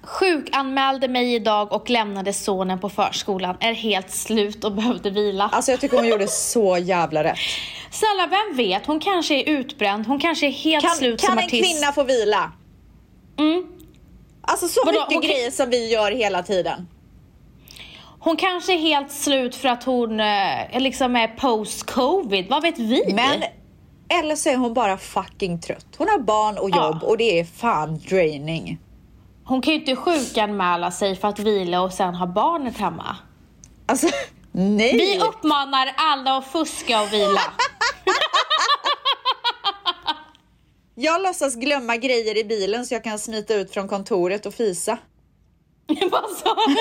Speaker 2: Sjukanmälde mig idag och lämnade sonen på förskolan. Är helt slut och (laughs) behövde vila.
Speaker 1: Alltså jag tycker hon gjorde så jävla rätt.
Speaker 2: Snälla, vem vet? Hon kanske är utbränd, hon kanske är helt
Speaker 1: Kan,
Speaker 2: slut
Speaker 1: kan
Speaker 2: som
Speaker 1: en
Speaker 2: artist.
Speaker 1: kvinna få vila?
Speaker 2: Mm.
Speaker 1: Alltså så
Speaker 2: Vadå,
Speaker 1: mycket
Speaker 2: hon kan-
Speaker 1: grejer som vi gör hela tiden.
Speaker 2: Hon kanske är helt slut för att hon eh, liksom är post-covid, vad vet vi?
Speaker 1: Men eller så är hon bara fucking trött. Hon har barn och
Speaker 2: Ja.
Speaker 1: jobb och det är fan draining.
Speaker 2: Hon kan ju inte sjukanmäla sig för att vila och sen ha barnet hemma.
Speaker 1: Alltså (laughs) nej.
Speaker 2: Vi uppmanar alla att fuska
Speaker 1: (laughs)
Speaker 2: och vila.
Speaker 1: Jag låtsas glömma grejer i bilen så jag kan smita ut från kontoret och fisa.
Speaker 2: Vad sa
Speaker 1: (laughs)
Speaker 2: du?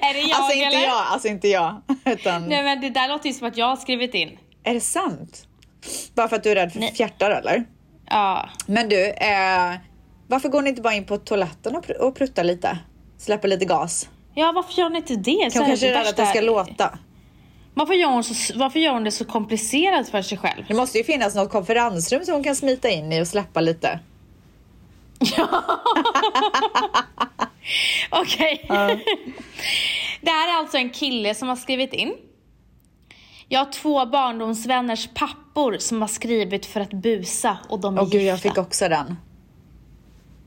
Speaker 2: Är det jag
Speaker 1: alltså inte
Speaker 2: eller?
Speaker 1: jag, alltså inte jag. (laughs) Utan,
Speaker 2: Nej men det där låter ju som att jag har skrivit in.
Speaker 1: är det sant? Bara för att du är rädd för fjärtar eller?
Speaker 2: Ja.
Speaker 1: Men du, eh, varför går ni inte bara in på toaletten och, pr- och pruttar lite? Släpper lite gas?
Speaker 2: Ja varför gör ni inte det? Så
Speaker 1: Kan
Speaker 2: här
Speaker 1: kanske är
Speaker 2: det
Speaker 1: rädd att det ska
Speaker 2: värsta-
Speaker 1: låta.
Speaker 2: Varför gör, hon så, varför gör hon det så komplicerat för sig själv?
Speaker 1: Det måste ju finnas något konferensrum som hon kan smita in i och släppa lite.
Speaker 2: Okej. (laughs) Det här är alltså en kille som har skrivit in. Jag har två barndomsvänners pappor som har skrivit för att busa och de är
Speaker 1: Åh gud, jag
Speaker 2: gifta.
Speaker 1: fick också den.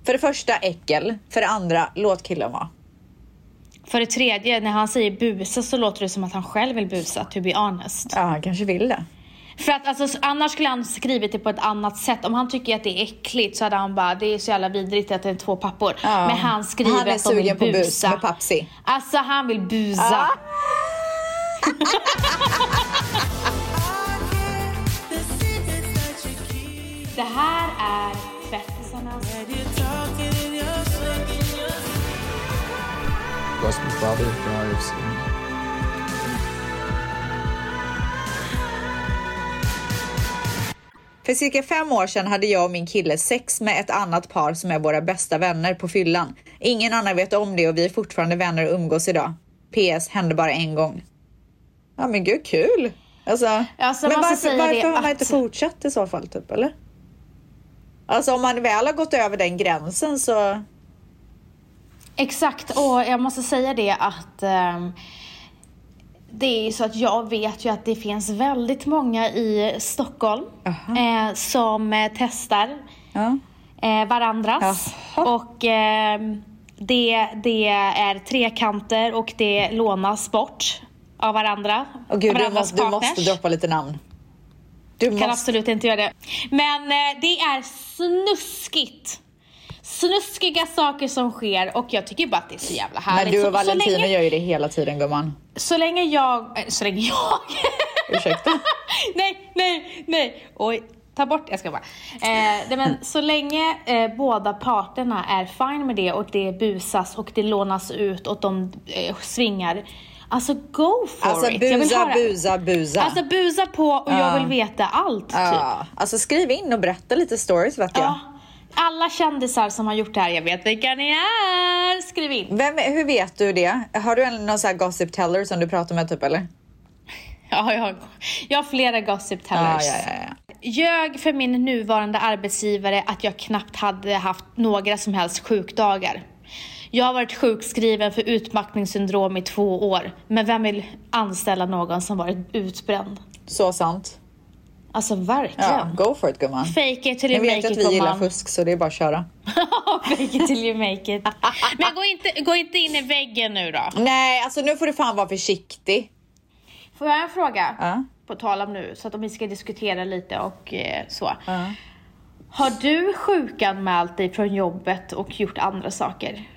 Speaker 1: För det första äckel, för det andra låt killen vara.
Speaker 2: För det tredje, när han säger busa så låter det som att han själv vill busa, to be honest.
Speaker 1: Ja, han kanske vill det.
Speaker 2: För att alltså, annars skulle han skrivit det på ett annat sätt. Om han tycker att det är äckligt så hade han bara, det är så jävla vidrigt att det är två pappor.
Speaker 1: Ja.
Speaker 2: Men han skriver
Speaker 1: Han är
Speaker 2: att de vill
Speaker 1: sugen på
Speaker 2: busa.
Speaker 1: bus med Papsi.
Speaker 2: Alltså han vill busa.
Speaker 3: The secrets that you
Speaker 2: (laughs)
Speaker 3: keep.
Speaker 2: Det här är tvättisarnas...
Speaker 3: And you're talking in your sleep, in your sleep.
Speaker 4: Gospel Father Drives In.
Speaker 1: För cirka fem år sedan hade jag och min kille sex med ett annat par som är våra bästa vänner på fyllan. Ingen annan vet om det och vi är fortfarande vänner och umgås idag. PS. Hände bara en gång. Ja men gud, kul! Alltså,
Speaker 2: Alltså,
Speaker 1: men
Speaker 2: man
Speaker 1: varför,
Speaker 2: ska säga
Speaker 1: varför
Speaker 2: det
Speaker 1: har man
Speaker 2: att-
Speaker 1: inte fortsatt i så fall, typ? Eller? Alltså om man väl har gått över den gränsen så...
Speaker 2: Exakt, och jag måste säga det att ehm, det är ju så att jag vet ju att det finns väldigt många i Stockholm eh, som eh, testar
Speaker 1: Ja.
Speaker 2: eh, varandras.
Speaker 1: Jaha.
Speaker 2: Och ehm, det, det är trekanter och det lånas bort av varandra.
Speaker 1: Och gud,
Speaker 2: av
Speaker 1: du,
Speaker 2: varandras
Speaker 1: måste, du måste
Speaker 2: partners.
Speaker 1: droppa lite namn. Du
Speaker 2: kan
Speaker 1: måste.
Speaker 2: absolut inte göra det. Men eh, det är snuskigt. Snuskiga saker som sker och jag tycker bara att det är så jävla härligt.
Speaker 1: Men du och
Speaker 2: Så- så,
Speaker 1: Valentina
Speaker 2: länge,
Speaker 1: gör ju det hela tiden, gumman.
Speaker 2: så länge jag... eh, Så länge jag... (laughs)
Speaker 1: Ursäkta?
Speaker 2: nej, nej, nej. Oj, ta bort Jag ska bara. Eh, nej, men, så länge eh, båda parterna är fine med det och det busas och det lånas ut och de eh, svingar. Alltså go for
Speaker 1: Alltså
Speaker 2: it.
Speaker 1: busa,
Speaker 2: höra-
Speaker 1: busa, busa.
Speaker 2: Alltså busa på och jag
Speaker 1: Ja.
Speaker 2: vill veta allt. Typ.
Speaker 1: Ja, alltså skriv in och berätta lite stories vet jag.
Speaker 2: Ja. Alla kändisar som har gjort det här, jag vet vilka ni är! Skriv in.
Speaker 1: Vem, hur vet du det? Har du en, någon sån här gossip teller som du pratar med typ eller?
Speaker 2: Ja, jag, har, jag har flera gossip
Speaker 1: Ja,
Speaker 2: tellers.
Speaker 1: ja, ja, ja.
Speaker 2: Ljög för min nuvarande arbetsgivare att jag knappt hade haft några som helst sjukdagar. Jag har varit sjukskriven för utmattningssyndrom i två år. Men vem vill anställa någon som varit utbränd?
Speaker 1: Så sant.
Speaker 2: Alltså verkligen.
Speaker 1: Ja, go for it gumman.
Speaker 2: Fake it till
Speaker 1: Ni
Speaker 2: you
Speaker 1: vet ju
Speaker 2: make
Speaker 1: att
Speaker 2: it,
Speaker 1: vi gillar
Speaker 2: (laughs) gumman.
Speaker 1: fusk så det är bara att köra.
Speaker 2: Fake it till you make it. Men gå inte, gå inte in i väggen nu då.
Speaker 1: Nej, alltså nu får du fan vara försiktig.
Speaker 2: Får jag en fråga?
Speaker 1: Ja.
Speaker 2: På tal om nu, så att om vi ska diskutera lite och eh, så. Har du sjukanmält dig från jobbet och gjort andra saker?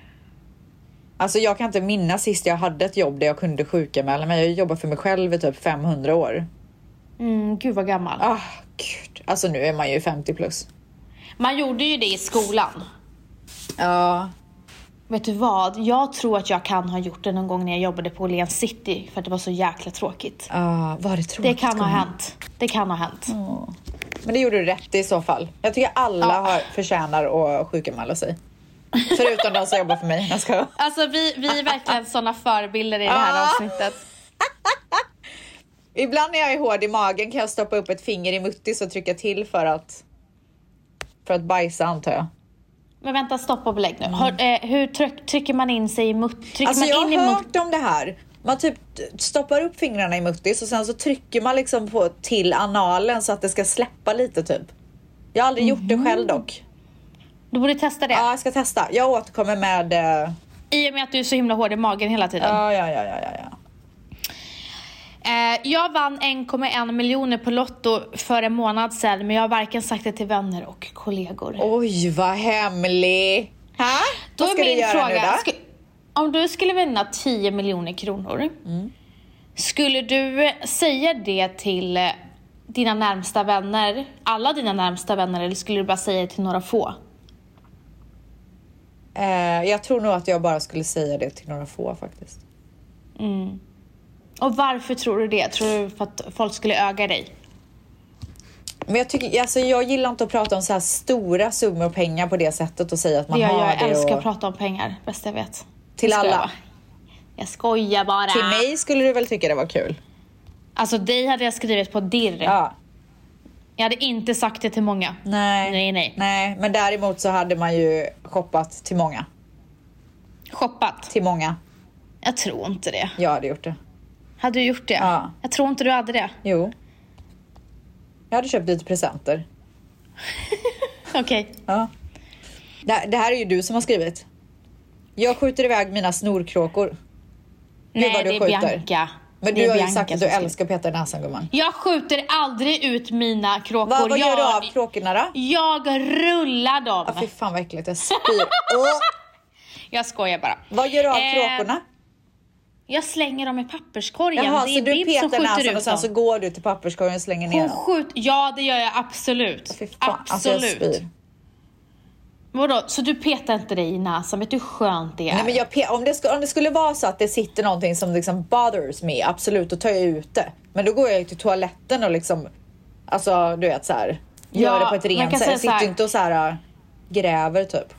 Speaker 1: Alltså jag kan inte minnas sist jag hade ett jobb där jag kunde sjukanmäla mig. Jag jobbar för mig själv i typ 500 år.
Speaker 2: Mm, gud vad gammal.
Speaker 1: Ah, gud. Alltså nu är man ju 50 plus.
Speaker 2: Man gjorde ju det i skolan.
Speaker 1: Ja.
Speaker 2: Vet du vad? Jag tror att jag kan ha gjort det någon gång när jag jobbade på Åhléns city för att det var så jäkla tråkigt.
Speaker 1: Ah, var det tråkigt
Speaker 2: Det kan ha
Speaker 1: gumman?
Speaker 2: hänt. Det kan ha hänt.
Speaker 1: Men det gjorde du rätt i så fall. Jag tycker alla
Speaker 2: Ja.
Speaker 1: har, förtjänar att sjukanmäla sig. Förutom de som jobbar för mig. Jag ska.
Speaker 2: Alltså vi, vi är (laughs) verkligen såna förebilder i det här
Speaker 1: Ja.
Speaker 2: avsnittet.
Speaker 1: Ibland när jag är hård i magen kan jag stoppa upp ett finger i muttis och trycka till för att, för att bajsa antar jag.
Speaker 2: Men vänta, stopp och belägg nu. Har, eh, hur tryck, trycker man in sig i mutt? Trycker
Speaker 1: Alltså jag
Speaker 2: man in i
Speaker 1: har
Speaker 2: mutt?
Speaker 1: hört om det här. Man typ t- stoppar upp fingrarna i muttis och sen så trycker man liksom på till analen så att det ska släppa lite typ. Jag har aldrig gjort det
Speaker 2: Mhm.
Speaker 1: själv dock.
Speaker 2: Du borde testa det.
Speaker 1: Ja, jag ska testa. Jag återkommer med... eh,
Speaker 2: I och med att du är så himla hård i magen hela tiden.
Speaker 1: Ja, ja, ja, ja, ja, ja.
Speaker 2: Eh, jag vann 1,1 miljoner på Lotto för en månad sedan men jag har varken sagt det till vänner och kollegor.
Speaker 1: Oj, vad hemlig. Ha?
Speaker 2: då
Speaker 1: vad
Speaker 2: är
Speaker 1: ska
Speaker 2: min
Speaker 1: du göra nu
Speaker 2: fråga,
Speaker 1: då?
Speaker 2: sku, om du skulle vinna 10 miljoner kronor,
Speaker 1: Mm.
Speaker 2: skulle du säga det till eh, dina närmsta vänner, alla dina närmsta vänner eller skulle du bara säga det till några få?
Speaker 1: Eh, jag tror nog att jag bara skulle säga det till några få faktiskt.
Speaker 2: Och varför tror du det? Tror du för att folk skulle öga dig?
Speaker 1: Men jag, tycker, alltså, jag gillar inte att prata om så här stora summor pengar på det sättet och säga att man
Speaker 2: Ja,
Speaker 1: har
Speaker 2: jag
Speaker 1: det.
Speaker 2: älskar
Speaker 1: och...
Speaker 2: att prata om pengar, bäst jag vet.
Speaker 1: Till
Speaker 2: Jag skojar
Speaker 1: alla.
Speaker 2: bara. Jag skojar bara.
Speaker 1: Till mig skulle du väl tycka det var kul?
Speaker 2: Alltså dig hade jag skrivit på dirr.
Speaker 1: Ja.
Speaker 2: Jag hade inte sagt det till många.
Speaker 1: Nej.
Speaker 2: Nej, nej.
Speaker 1: nej. Men däremot så hade man ju shoppat till många.
Speaker 2: Shoppat.
Speaker 1: Till många.
Speaker 2: Jag tror inte det.
Speaker 1: Jag hade gjort det.
Speaker 2: Hade du gjort det?
Speaker 1: Ja.
Speaker 2: Jag tror inte du hade det.
Speaker 1: Jo. Jag hade köpt lite presenter.
Speaker 2: Okej.
Speaker 1: Ja. Det, det här är ju du som har skrivit. Jag skjuter iväg mina snorkråkor.
Speaker 2: Nej,
Speaker 1: vad du
Speaker 2: det är
Speaker 1: skjuter.
Speaker 2: Bianca.
Speaker 1: Men
Speaker 2: Det
Speaker 1: du
Speaker 2: är
Speaker 1: har ju sagt
Speaker 2: Bianca
Speaker 1: att du
Speaker 2: som skriver.
Speaker 1: älskar att peta i näsan gumman.
Speaker 2: Jag skjuter aldrig ut mina kråkor.
Speaker 1: Vad, vad
Speaker 2: jag,
Speaker 1: gör du av kråkorna då?
Speaker 2: Jag rullar dem.
Speaker 1: Ah, fy fan vad äckligt, jag spyr.
Speaker 2: (laughs)
Speaker 1: Åh,
Speaker 2: jag skojar bara.
Speaker 1: vad gör du av
Speaker 2: Eh,
Speaker 1: kråkorna?
Speaker 2: Jag slänger dem i papperskorgen.
Speaker 1: Jaha,
Speaker 2: det är
Speaker 1: så du
Speaker 2: Bib som
Speaker 1: petar näsan
Speaker 2: skjuter
Speaker 1: och
Speaker 2: ut
Speaker 1: sen
Speaker 2: dem.
Speaker 1: så går du till papperskorgen och slänger ner
Speaker 2: Hon
Speaker 1: dem?
Speaker 2: skjut... Ja, det gör jag absolut.
Speaker 1: Fy fan, alltså jag
Speaker 2: absolut.
Speaker 1: spyr.
Speaker 2: Vadå, så du petar inte dig i näsan? Vet du hur skönt det är?
Speaker 1: Nej, men jag pe- om, det sku- om det skulle vara så att det sitter någonting som liksom bothers me, absolut, då tar jag ut det. Men då går jag ju till toaletten och liksom, alltså du vet så här, gör
Speaker 2: Ja,
Speaker 1: det på ett
Speaker 2: man
Speaker 1: rent
Speaker 2: kan
Speaker 1: sätt.
Speaker 2: säga
Speaker 1: Jag sitter
Speaker 2: så
Speaker 1: ju
Speaker 2: här-
Speaker 1: inte och så här äh, gräver typ.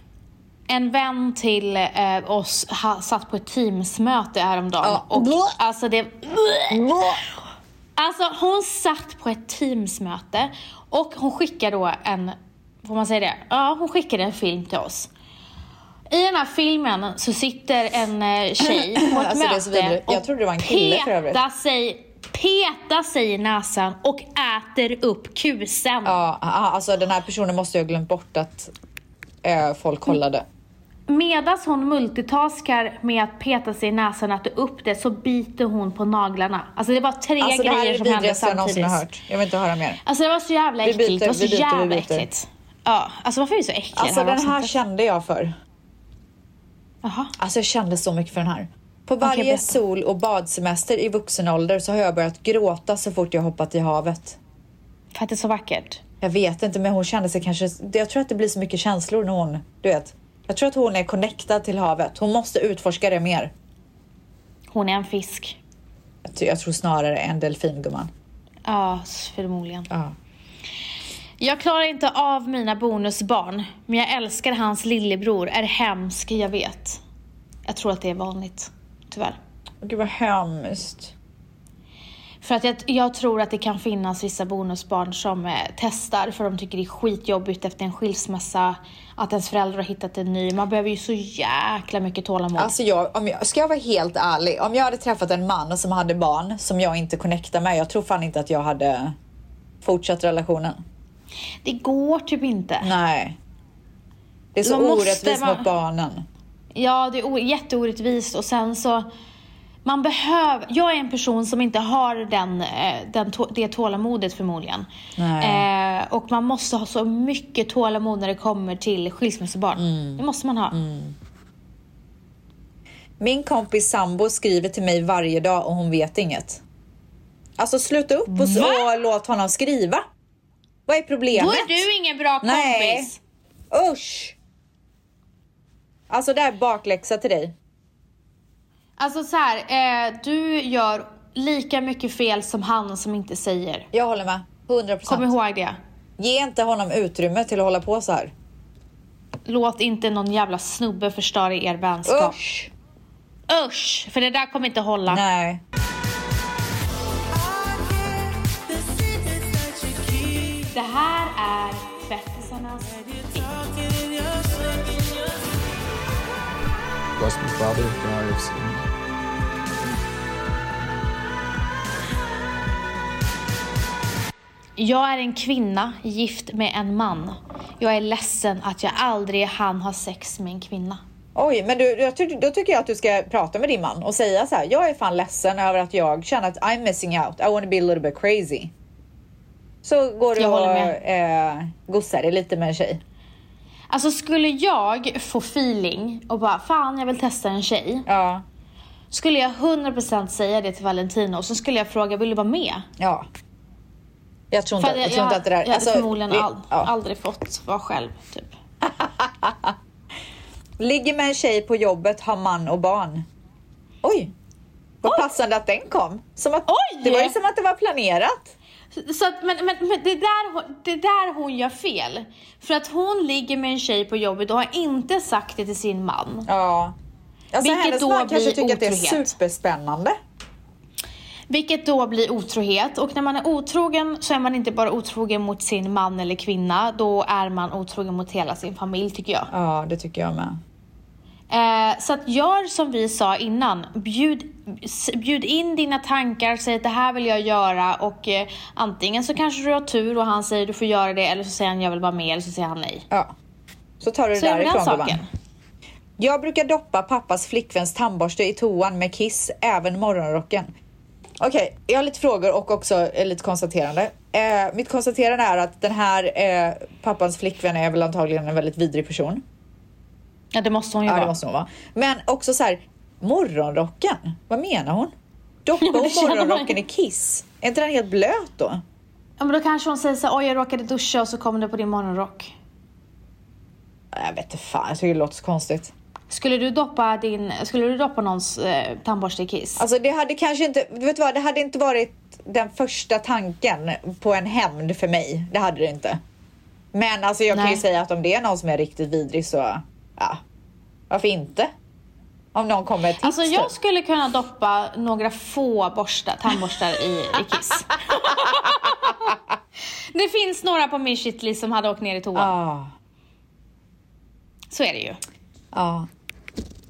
Speaker 2: En vän till eh, oss ha, satt på ett teamsmöte häromdagen.
Speaker 1: Ja.
Speaker 2: Och,
Speaker 1: Blå.
Speaker 2: alltså, det, alltså hon satt på ett teamsmöte och hon skickade då en, får man säga det? Ja, hon skickade en film till oss. I den här filmen så sitter en eh, tjej på ett
Speaker 1: (clears throat) Alltså, det är så
Speaker 2: möte
Speaker 1: vidrigt. Jag
Speaker 2: och
Speaker 1: trodde det var en kille för övrigt.
Speaker 2: petar sig, petar sig i näsan och äter upp kusen.
Speaker 1: Ja, a- a- alltså den här personen måste ju ha glömt bort att äh, folk
Speaker 2: Mm.
Speaker 1: kollade.
Speaker 2: Medan hon multitaskar med att peta sig i näsan och äta upp det så biter hon på naglarna. Alltså det var tre
Speaker 1: Alltså det här är det
Speaker 2: grejer som hände
Speaker 1: vidrigaste jag någonsin
Speaker 2: samtidigt.
Speaker 1: har hört. Jag vill inte höra mer.
Speaker 2: Alltså det var så jävla
Speaker 1: Vi
Speaker 2: äckligt.
Speaker 1: byter,
Speaker 2: det var
Speaker 1: vi
Speaker 2: så
Speaker 1: byter, vi
Speaker 2: jävla
Speaker 1: byter.
Speaker 2: äckligt. Ja, alltså varför är du så äcklig? i
Speaker 1: Alltså
Speaker 2: det
Speaker 1: den här
Speaker 2: avsnittet?
Speaker 1: kände jag för.
Speaker 2: Jaha.
Speaker 1: Alltså jag kände så mycket för den här. På varje
Speaker 2: berätta.
Speaker 1: sol och badsemester i vuxen ålder så har jag börjat gråta så fort jag hoppat i havet.
Speaker 2: För att det är så vackert.
Speaker 1: Jag vet inte men hon kände sig kanske... Jag tror att det blir så mycket känslor när hon... Du vet. Jag tror att hon är connectad till havet. Hon måste utforska det mer.
Speaker 2: Hon är en fisk.
Speaker 1: Jag tror- Jag tror snarare en delfin gumman.
Speaker 2: Ja, förmodligen.
Speaker 1: Ja.
Speaker 2: Jag klarar inte av mina bonusbarn, men jag älskar hans lillebror. Är hemsk, jag vet. Jag tror att det är vanligt, tyvärr.
Speaker 1: Åh, Gud vad hemskt.
Speaker 2: För att jag, jag tror att det kan finnas vissa bonusbarn som eh, testar för de tycker det är skitjobbigt efter en skilsmässa att ens föräldrar har hittat en ny. Man behöver ju så jäkla mycket tålamod.
Speaker 1: Alltså jag, om jag, ska jag vara helt ärlig, om jag hade träffat en man som hade barn som jag inte connectar med, jag tror fan inte att jag hade fortsatt relationen.
Speaker 2: det går typ inte.
Speaker 1: Nej. Det är så
Speaker 2: Man måste
Speaker 1: orättvist
Speaker 2: vara-
Speaker 1: mot barnen.
Speaker 2: Ja, det är o- jätteorättvist och sen så man behöver, jag är en person som inte har den, eh, den, tå- det tålamodet förmodligen.
Speaker 1: Nej.
Speaker 2: Eh, och man måste ha så mycket tålamod när det kommer till skilsmässobarn.
Speaker 1: Mm.
Speaker 2: Det måste man ha.
Speaker 1: Min kompis sambo skriver till mig varje dag och hon vet inget. Alltså sluta upp och, så,
Speaker 2: Va?
Speaker 1: och låt honom skriva. Vad är
Speaker 2: Då
Speaker 1: problemet?
Speaker 2: är du ingen bra kompis.
Speaker 1: Nej. Usch! Alltså det här är bakläxa till dig.
Speaker 2: Alltså så här, eh, du gör lika mycket fel som han som inte säger.
Speaker 1: Jag håller med. 100
Speaker 2: Kom
Speaker 1: procent.
Speaker 2: ihåg det.
Speaker 1: Ge inte honom utrymme till att hålla på så här.
Speaker 2: Låt inte någon jävla snubbe förstöra er vänskap. Usch!
Speaker 1: Usch!
Speaker 2: för det där kommer inte hålla.
Speaker 1: Nej.
Speaker 3: The secrets that you keep,
Speaker 2: Det här är tvättisarnas...
Speaker 3: talking in your sleep, in your
Speaker 4: Bless me, Father, God of sin.
Speaker 2: Jag är en kvinna gift med en man. Jag är ledsen att jag aldrig hann ha sex med en kvinna.
Speaker 1: Oj, men du, jag ty- då tycker jag att du ska prata med din man och säga så här. Jag är fan ledsen över att jag känner att I'm missing out. I wanna be a little bit crazy. Så går du
Speaker 2: Jag
Speaker 1: och
Speaker 2: håller
Speaker 1: eh, gossar dig lite med en tjej.
Speaker 2: Alltså skulle jag få feeling och bara fan jag vill testa en tjej.
Speaker 1: Ja,
Speaker 2: Skulle jag 100% säga det till Valentino och så skulle jag fråga vill du vara med?
Speaker 1: ja. Jag tror inte, jag,
Speaker 2: För
Speaker 1: tror inte att det där...
Speaker 2: jag hade förmodligen
Speaker 1: li-
Speaker 2: all,
Speaker 1: ja.
Speaker 2: aldrig fått vara själv. Typ.
Speaker 1: Ligger med en tjej på jobbet, har man och barn. Oj! Vad passande att den kom. Som att,
Speaker 2: Oj!
Speaker 1: Det var ju som att det var planerat.
Speaker 2: Så att, men men, men det, där, hon- det där hon gör fel. För att hon ligger med en tjej på jobbet och har inte sagt det till sin man.
Speaker 1: Ja. Alltså
Speaker 2: Vilket
Speaker 1: hennes
Speaker 2: då
Speaker 1: man kanske
Speaker 2: blir
Speaker 1: tycker att det är
Speaker 2: otrohet.
Speaker 1: superspännande.
Speaker 2: Vilket då blir otrohet och när man är otrogen så är man inte bara otrogen mot sin man eller kvinna, då är man otrogen mot hela sin familj tycker jag.
Speaker 1: Ja, det tycker jag med.
Speaker 2: Eh, så att gör som vi sa innan. Bjud, s- bjud in dina tankar, säg att det här vill jag göra och eh, antingen så kanske du har tur och han säger du får göra det eller så säger han jag vill vara med eller så säger han nej.
Speaker 1: Ja. Så tar du det
Speaker 2: Så är det den
Speaker 1: därifrån gumman.
Speaker 2: saken.
Speaker 1: Jag brukar doppa pappas flickväns tandborste i toan med kiss, även morgonrocken. Okej, jag har lite frågor och också eh, lite konstaterande. Eh, mitt konstaterande är att den här eh, pappans flickvän är väl antagligen en väldigt vidrig person.
Speaker 2: Ja det måste hon ju
Speaker 1: Ja, det
Speaker 2: vara.
Speaker 1: måste hon vara. Men också så här, morgonrocken, vad menar hon?
Speaker 2: (laughs)
Speaker 1: Doppar
Speaker 2: men
Speaker 1: hon
Speaker 2: det känner man
Speaker 1: morgonrocken i kiss? Är inte den helt blöt då?
Speaker 2: Ja, men då kanske hon säger så här, oj jag råkade duscha och så kom det på din morgonrock.
Speaker 1: Jag vet inte fan, jag tycker det låter så konstigt.
Speaker 2: Skulle du doppa, din, skulle du doppa någons eh, tandborste i kiss?
Speaker 1: Alltså det hade kanske inte, du vet vad, det hade inte varit den första tanken på en hämnd för mig. Det hade det inte. Men alltså jag kan ju
Speaker 2: Nej.
Speaker 1: säga att om det är någon som är riktigt vidrig så, ja, varför inte? Om någon kommer med ett tips
Speaker 2: Alltså jag
Speaker 1: typ.
Speaker 2: skulle kunna doppa några få borstar, tandborstar i, i
Speaker 1: (laughs)
Speaker 2: kiss. det finns några på min shitlist som hade åkt ner i toan.
Speaker 1: Ja,
Speaker 2: Så är det ju.
Speaker 1: ja.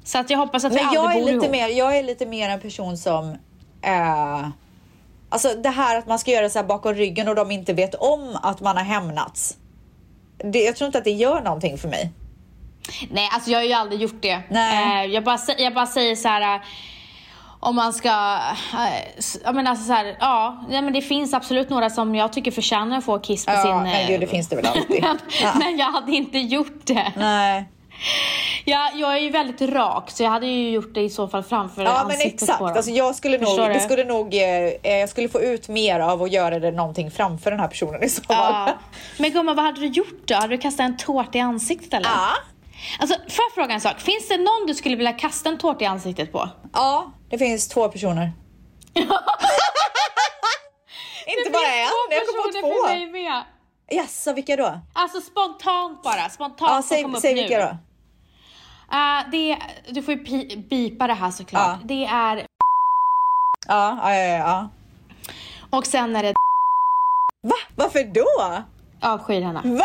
Speaker 2: Så att jag hoppas att vi
Speaker 1: Men jag är,
Speaker 2: aldrig bor
Speaker 1: lite
Speaker 2: ihop.
Speaker 1: mer, jag är lite mer en person som... Eh, alltså det här att man ska göra så här bakom ryggen och de inte vet om att man har hämnats. Det, jag tror inte att det gör någonting för mig.
Speaker 2: Nej, alltså jag har ju aldrig gjort det.
Speaker 1: Nej.
Speaker 2: Eh, jag, bara, sä- jag bara säger så här. eh, Om man ska, eh, s- ja men alltså så här, ja, nej men det finns absolut några som jag tycker förtjänar att få kiss på
Speaker 1: Ja,
Speaker 2: sin...
Speaker 1: men
Speaker 2: eh,
Speaker 1: gud, det finns det väl alltid.
Speaker 2: (laughs) men,
Speaker 1: Ja.
Speaker 2: men jag hade inte gjort det.
Speaker 1: Nej.
Speaker 2: Jag, jag är ju väldigt rak så jag hade ju gjort det i så fall framför
Speaker 1: Ja men
Speaker 2: ansiktet
Speaker 1: exakt.
Speaker 2: på dem.
Speaker 1: Alltså, jag skulle nog,
Speaker 2: Förstår
Speaker 1: det
Speaker 2: du?
Speaker 1: skulle nog, eh, eh, jag skulle få ut mer av att göra det någonting framför den här personen i så fall.
Speaker 2: ja. Men gumman vad hade du gjort då? Hade du kastat en tårta i ansiktet eller?
Speaker 1: Ja.
Speaker 2: Alltså får jag fråga en sak? Finns det någon du skulle vilja kasta en tårta i ansiktet på?
Speaker 1: Ja, det finns två
Speaker 2: (laughs)
Speaker 1: personer. Inte bara en, jag kom på
Speaker 2: för
Speaker 1: två.
Speaker 2: mig med.
Speaker 1: Jaså, vilka då?
Speaker 2: Alltså spontant bara, spontant
Speaker 1: Ja,
Speaker 2: som
Speaker 1: säg,
Speaker 2: kom upp
Speaker 1: säg
Speaker 2: nu.
Speaker 1: vilka då.
Speaker 2: Eh, det är, du får ju pi- bipa det här såklart.
Speaker 1: Ja.
Speaker 2: Det är,
Speaker 1: Ja, ja, ja, ja.
Speaker 2: och sen är det
Speaker 1: Va? Varför då?
Speaker 2: avskyr henne.
Speaker 1: Va?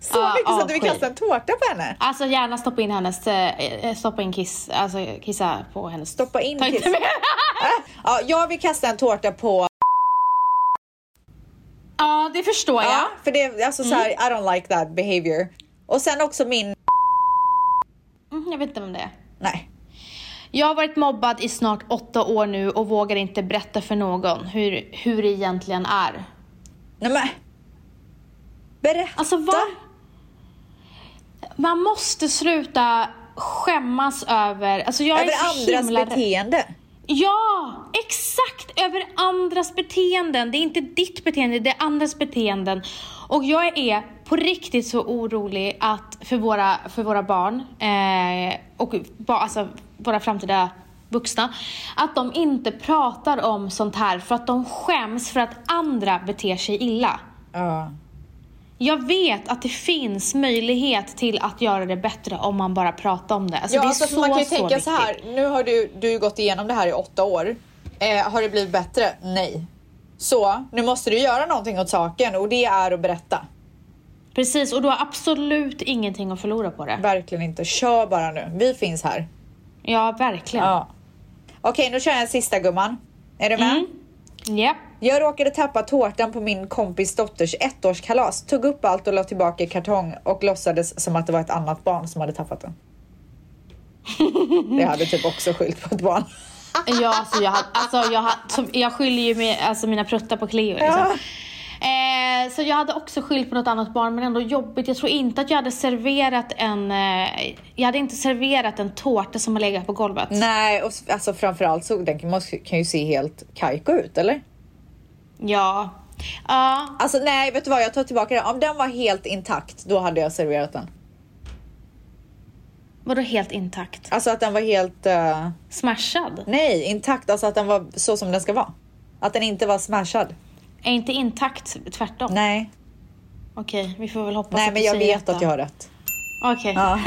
Speaker 1: Så
Speaker 2: Ja,
Speaker 1: mycket så att du vill
Speaker 2: avsky.
Speaker 1: kasta en tårta på henne?
Speaker 2: Alltså gärna stoppa in hennes, eh, eh, stoppa in kiss, alltså kissa på hennes...
Speaker 1: Stoppa in
Speaker 2: Ta inte
Speaker 1: kissen.
Speaker 2: med.
Speaker 1: (laughs) Ja, jag vill kasta en tårta på...
Speaker 2: Ja, Mm. det förstår jag.
Speaker 1: Ja, för det är alltså såhär, I don't like that behavior. Och sen också min...
Speaker 2: Mm, jag vet inte vem det är.
Speaker 1: Nej.
Speaker 2: Jag har varit mobbad i snart åtta år nu och vågar inte berätta för någon hur, hur det egentligen är.
Speaker 1: Nej men... Berätta!
Speaker 2: Alltså vad... Man måste sluta skämmas över... Alltså jag
Speaker 1: Över
Speaker 2: är så
Speaker 1: andras
Speaker 2: himla...
Speaker 1: beteende.
Speaker 2: Ja, exakt! Över andras beteenden. Det är inte ditt beteende, det är andras beteenden. Och jag är på riktigt så orolig att för, våra, för våra barn eh, och ba, alltså, våra framtida vuxna, att de inte pratar om sånt här för att de skäms för att andra beter sig illa.
Speaker 1: Ja.
Speaker 2: Jag vet att det finns möjlighet till att göra det bättre om man bara pratar om det. Alltså,
Speaker 1: ja
Speaker 2: det är
Speaker 1: alltså,
Speaker 2: så,
Speaker 1: man kan ju
Speaker 2: så
Speaker 1: tänka
Speaker 2: viktigt.
Speaker 1: så här, nu har du, du har ju gått igenom det här i åtta år. Eh, har det blivit bättre? Nej. Så, nu måste du göra någonting åt saken och det är att berätta.
Speaker 2: Precis, och du har absolut ingenting att förlora på det.
Speaker 1: Verkligen inte. Kör bara nu. Vi finns här.
Speaker 2: Ja, verkligen.
Speaker 1: Ja. Okej, nu kör jag en sista gumman. Är du med?
Speaker 2: Mm. Japp.
Speaker 1: Jag råkade tappa tårtan på min kompis dotters ettårskalas. Tog upp allt och la tillbaka i kartong och låtsades som att det var ett annat barn som hade tappat den. Det hade typ också skylt på ett barn.
Speaker 2: Ja, alltså jag, hade- alltså jag, hade- som- jag skyller ju med, alltså mina pruttar på Cleo. Liksom.
Speaker 1: Ja.
Speaker 2: Eh, så jag hade också skyllt på något annat barn, men ändå jobbigt. Jag tror inte att jag hade serverat en, eh, jag hade inte serverat en tårta som har legat på golvet.
Speaker 1: Nej, och s- alltså framförallt så den kan, måste- kan ju se helt kajko ut, eller?
Speaker 2: Ja. Ja,
Speaker 1: Alltså nej, vet du vad? Jag tar tillbaka den. Om den var helt intakt, då hade jag serverat den.
Speaker 2: vadå helt intakt?
Speaker 1: Alltså att den var helt... eh,
Speaker 2: Smashad?
Speaker 1: nej, intakt. Alltså att den var så som den ska vara. Att den inte var smashad.
Speaker 2: Är inte intakt tvärtom?
Speaker 1: Nej,
Speaker 2: Okej, vi får väl hoppas
Speaker 1: nej
Speaker 2: att
Speaker 1: men
Speaker 2: du
Speaker 1: jag
Speaker 2: säger
Speaker 1: vet
Speaker 2: rätt
Speaker 1: att
Speaker 2: då.
Speaker 1: jag har rätt.
Speaker 2: Okej.
Speaker 1: Ja.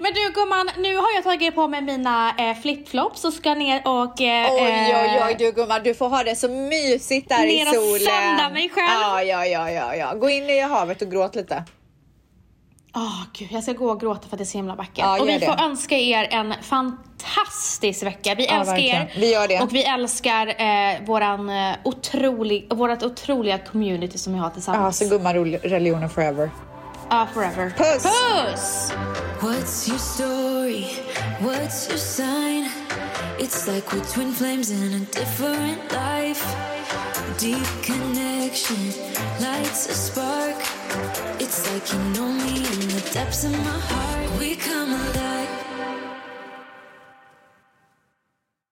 Speaker 2: Men du gumman, nu har jag tagit på mig mina eh, flipflops och ska ner och... Eh,
Speaker 1: Oj, oj,
Speaker 2: eh,
Speaker 1: oj du gumman, du får ha det så mysigt där i
Speaker 2: Ner och
Speaker 1: solen.
Speaker 2: sända mig själv.
Speaker 1: Ja, ja, ja, ja, ja. Gå in i havet och gråt lite.
Speaker 2: Åh, Ah, gud, jag ska gå och gråta för att det är så himla vackert.
Speaker 1: Ja,
Speaker 2: och vi
Speaker 1: gör det.
Speaker 2: får önska er en fantastisk vecka. Vi
Speaker 1: Ja,
Speaker 2: älskar
Speaker 1: verkligen.
Speaker 2: er.
Speaker 1: Vi gör det.
Speaker 2: Och vi älskar eh, våran, eh, otrolig, vårat otroliga community som vi har
Speaker 1: Ja,
Speaker 2: tillsammans.
Speaker 1: så gumman, rol- religionen forever.
Speaker 2: Ja, forever.
Speaker 1: Puss!
Speaker 2: Puss!
Speaker 3: What's your story? What's your sign? It's like we're twin flames in a different life. Deep connection lights a spark. It's like you know me in the depths of my heart. We come alive.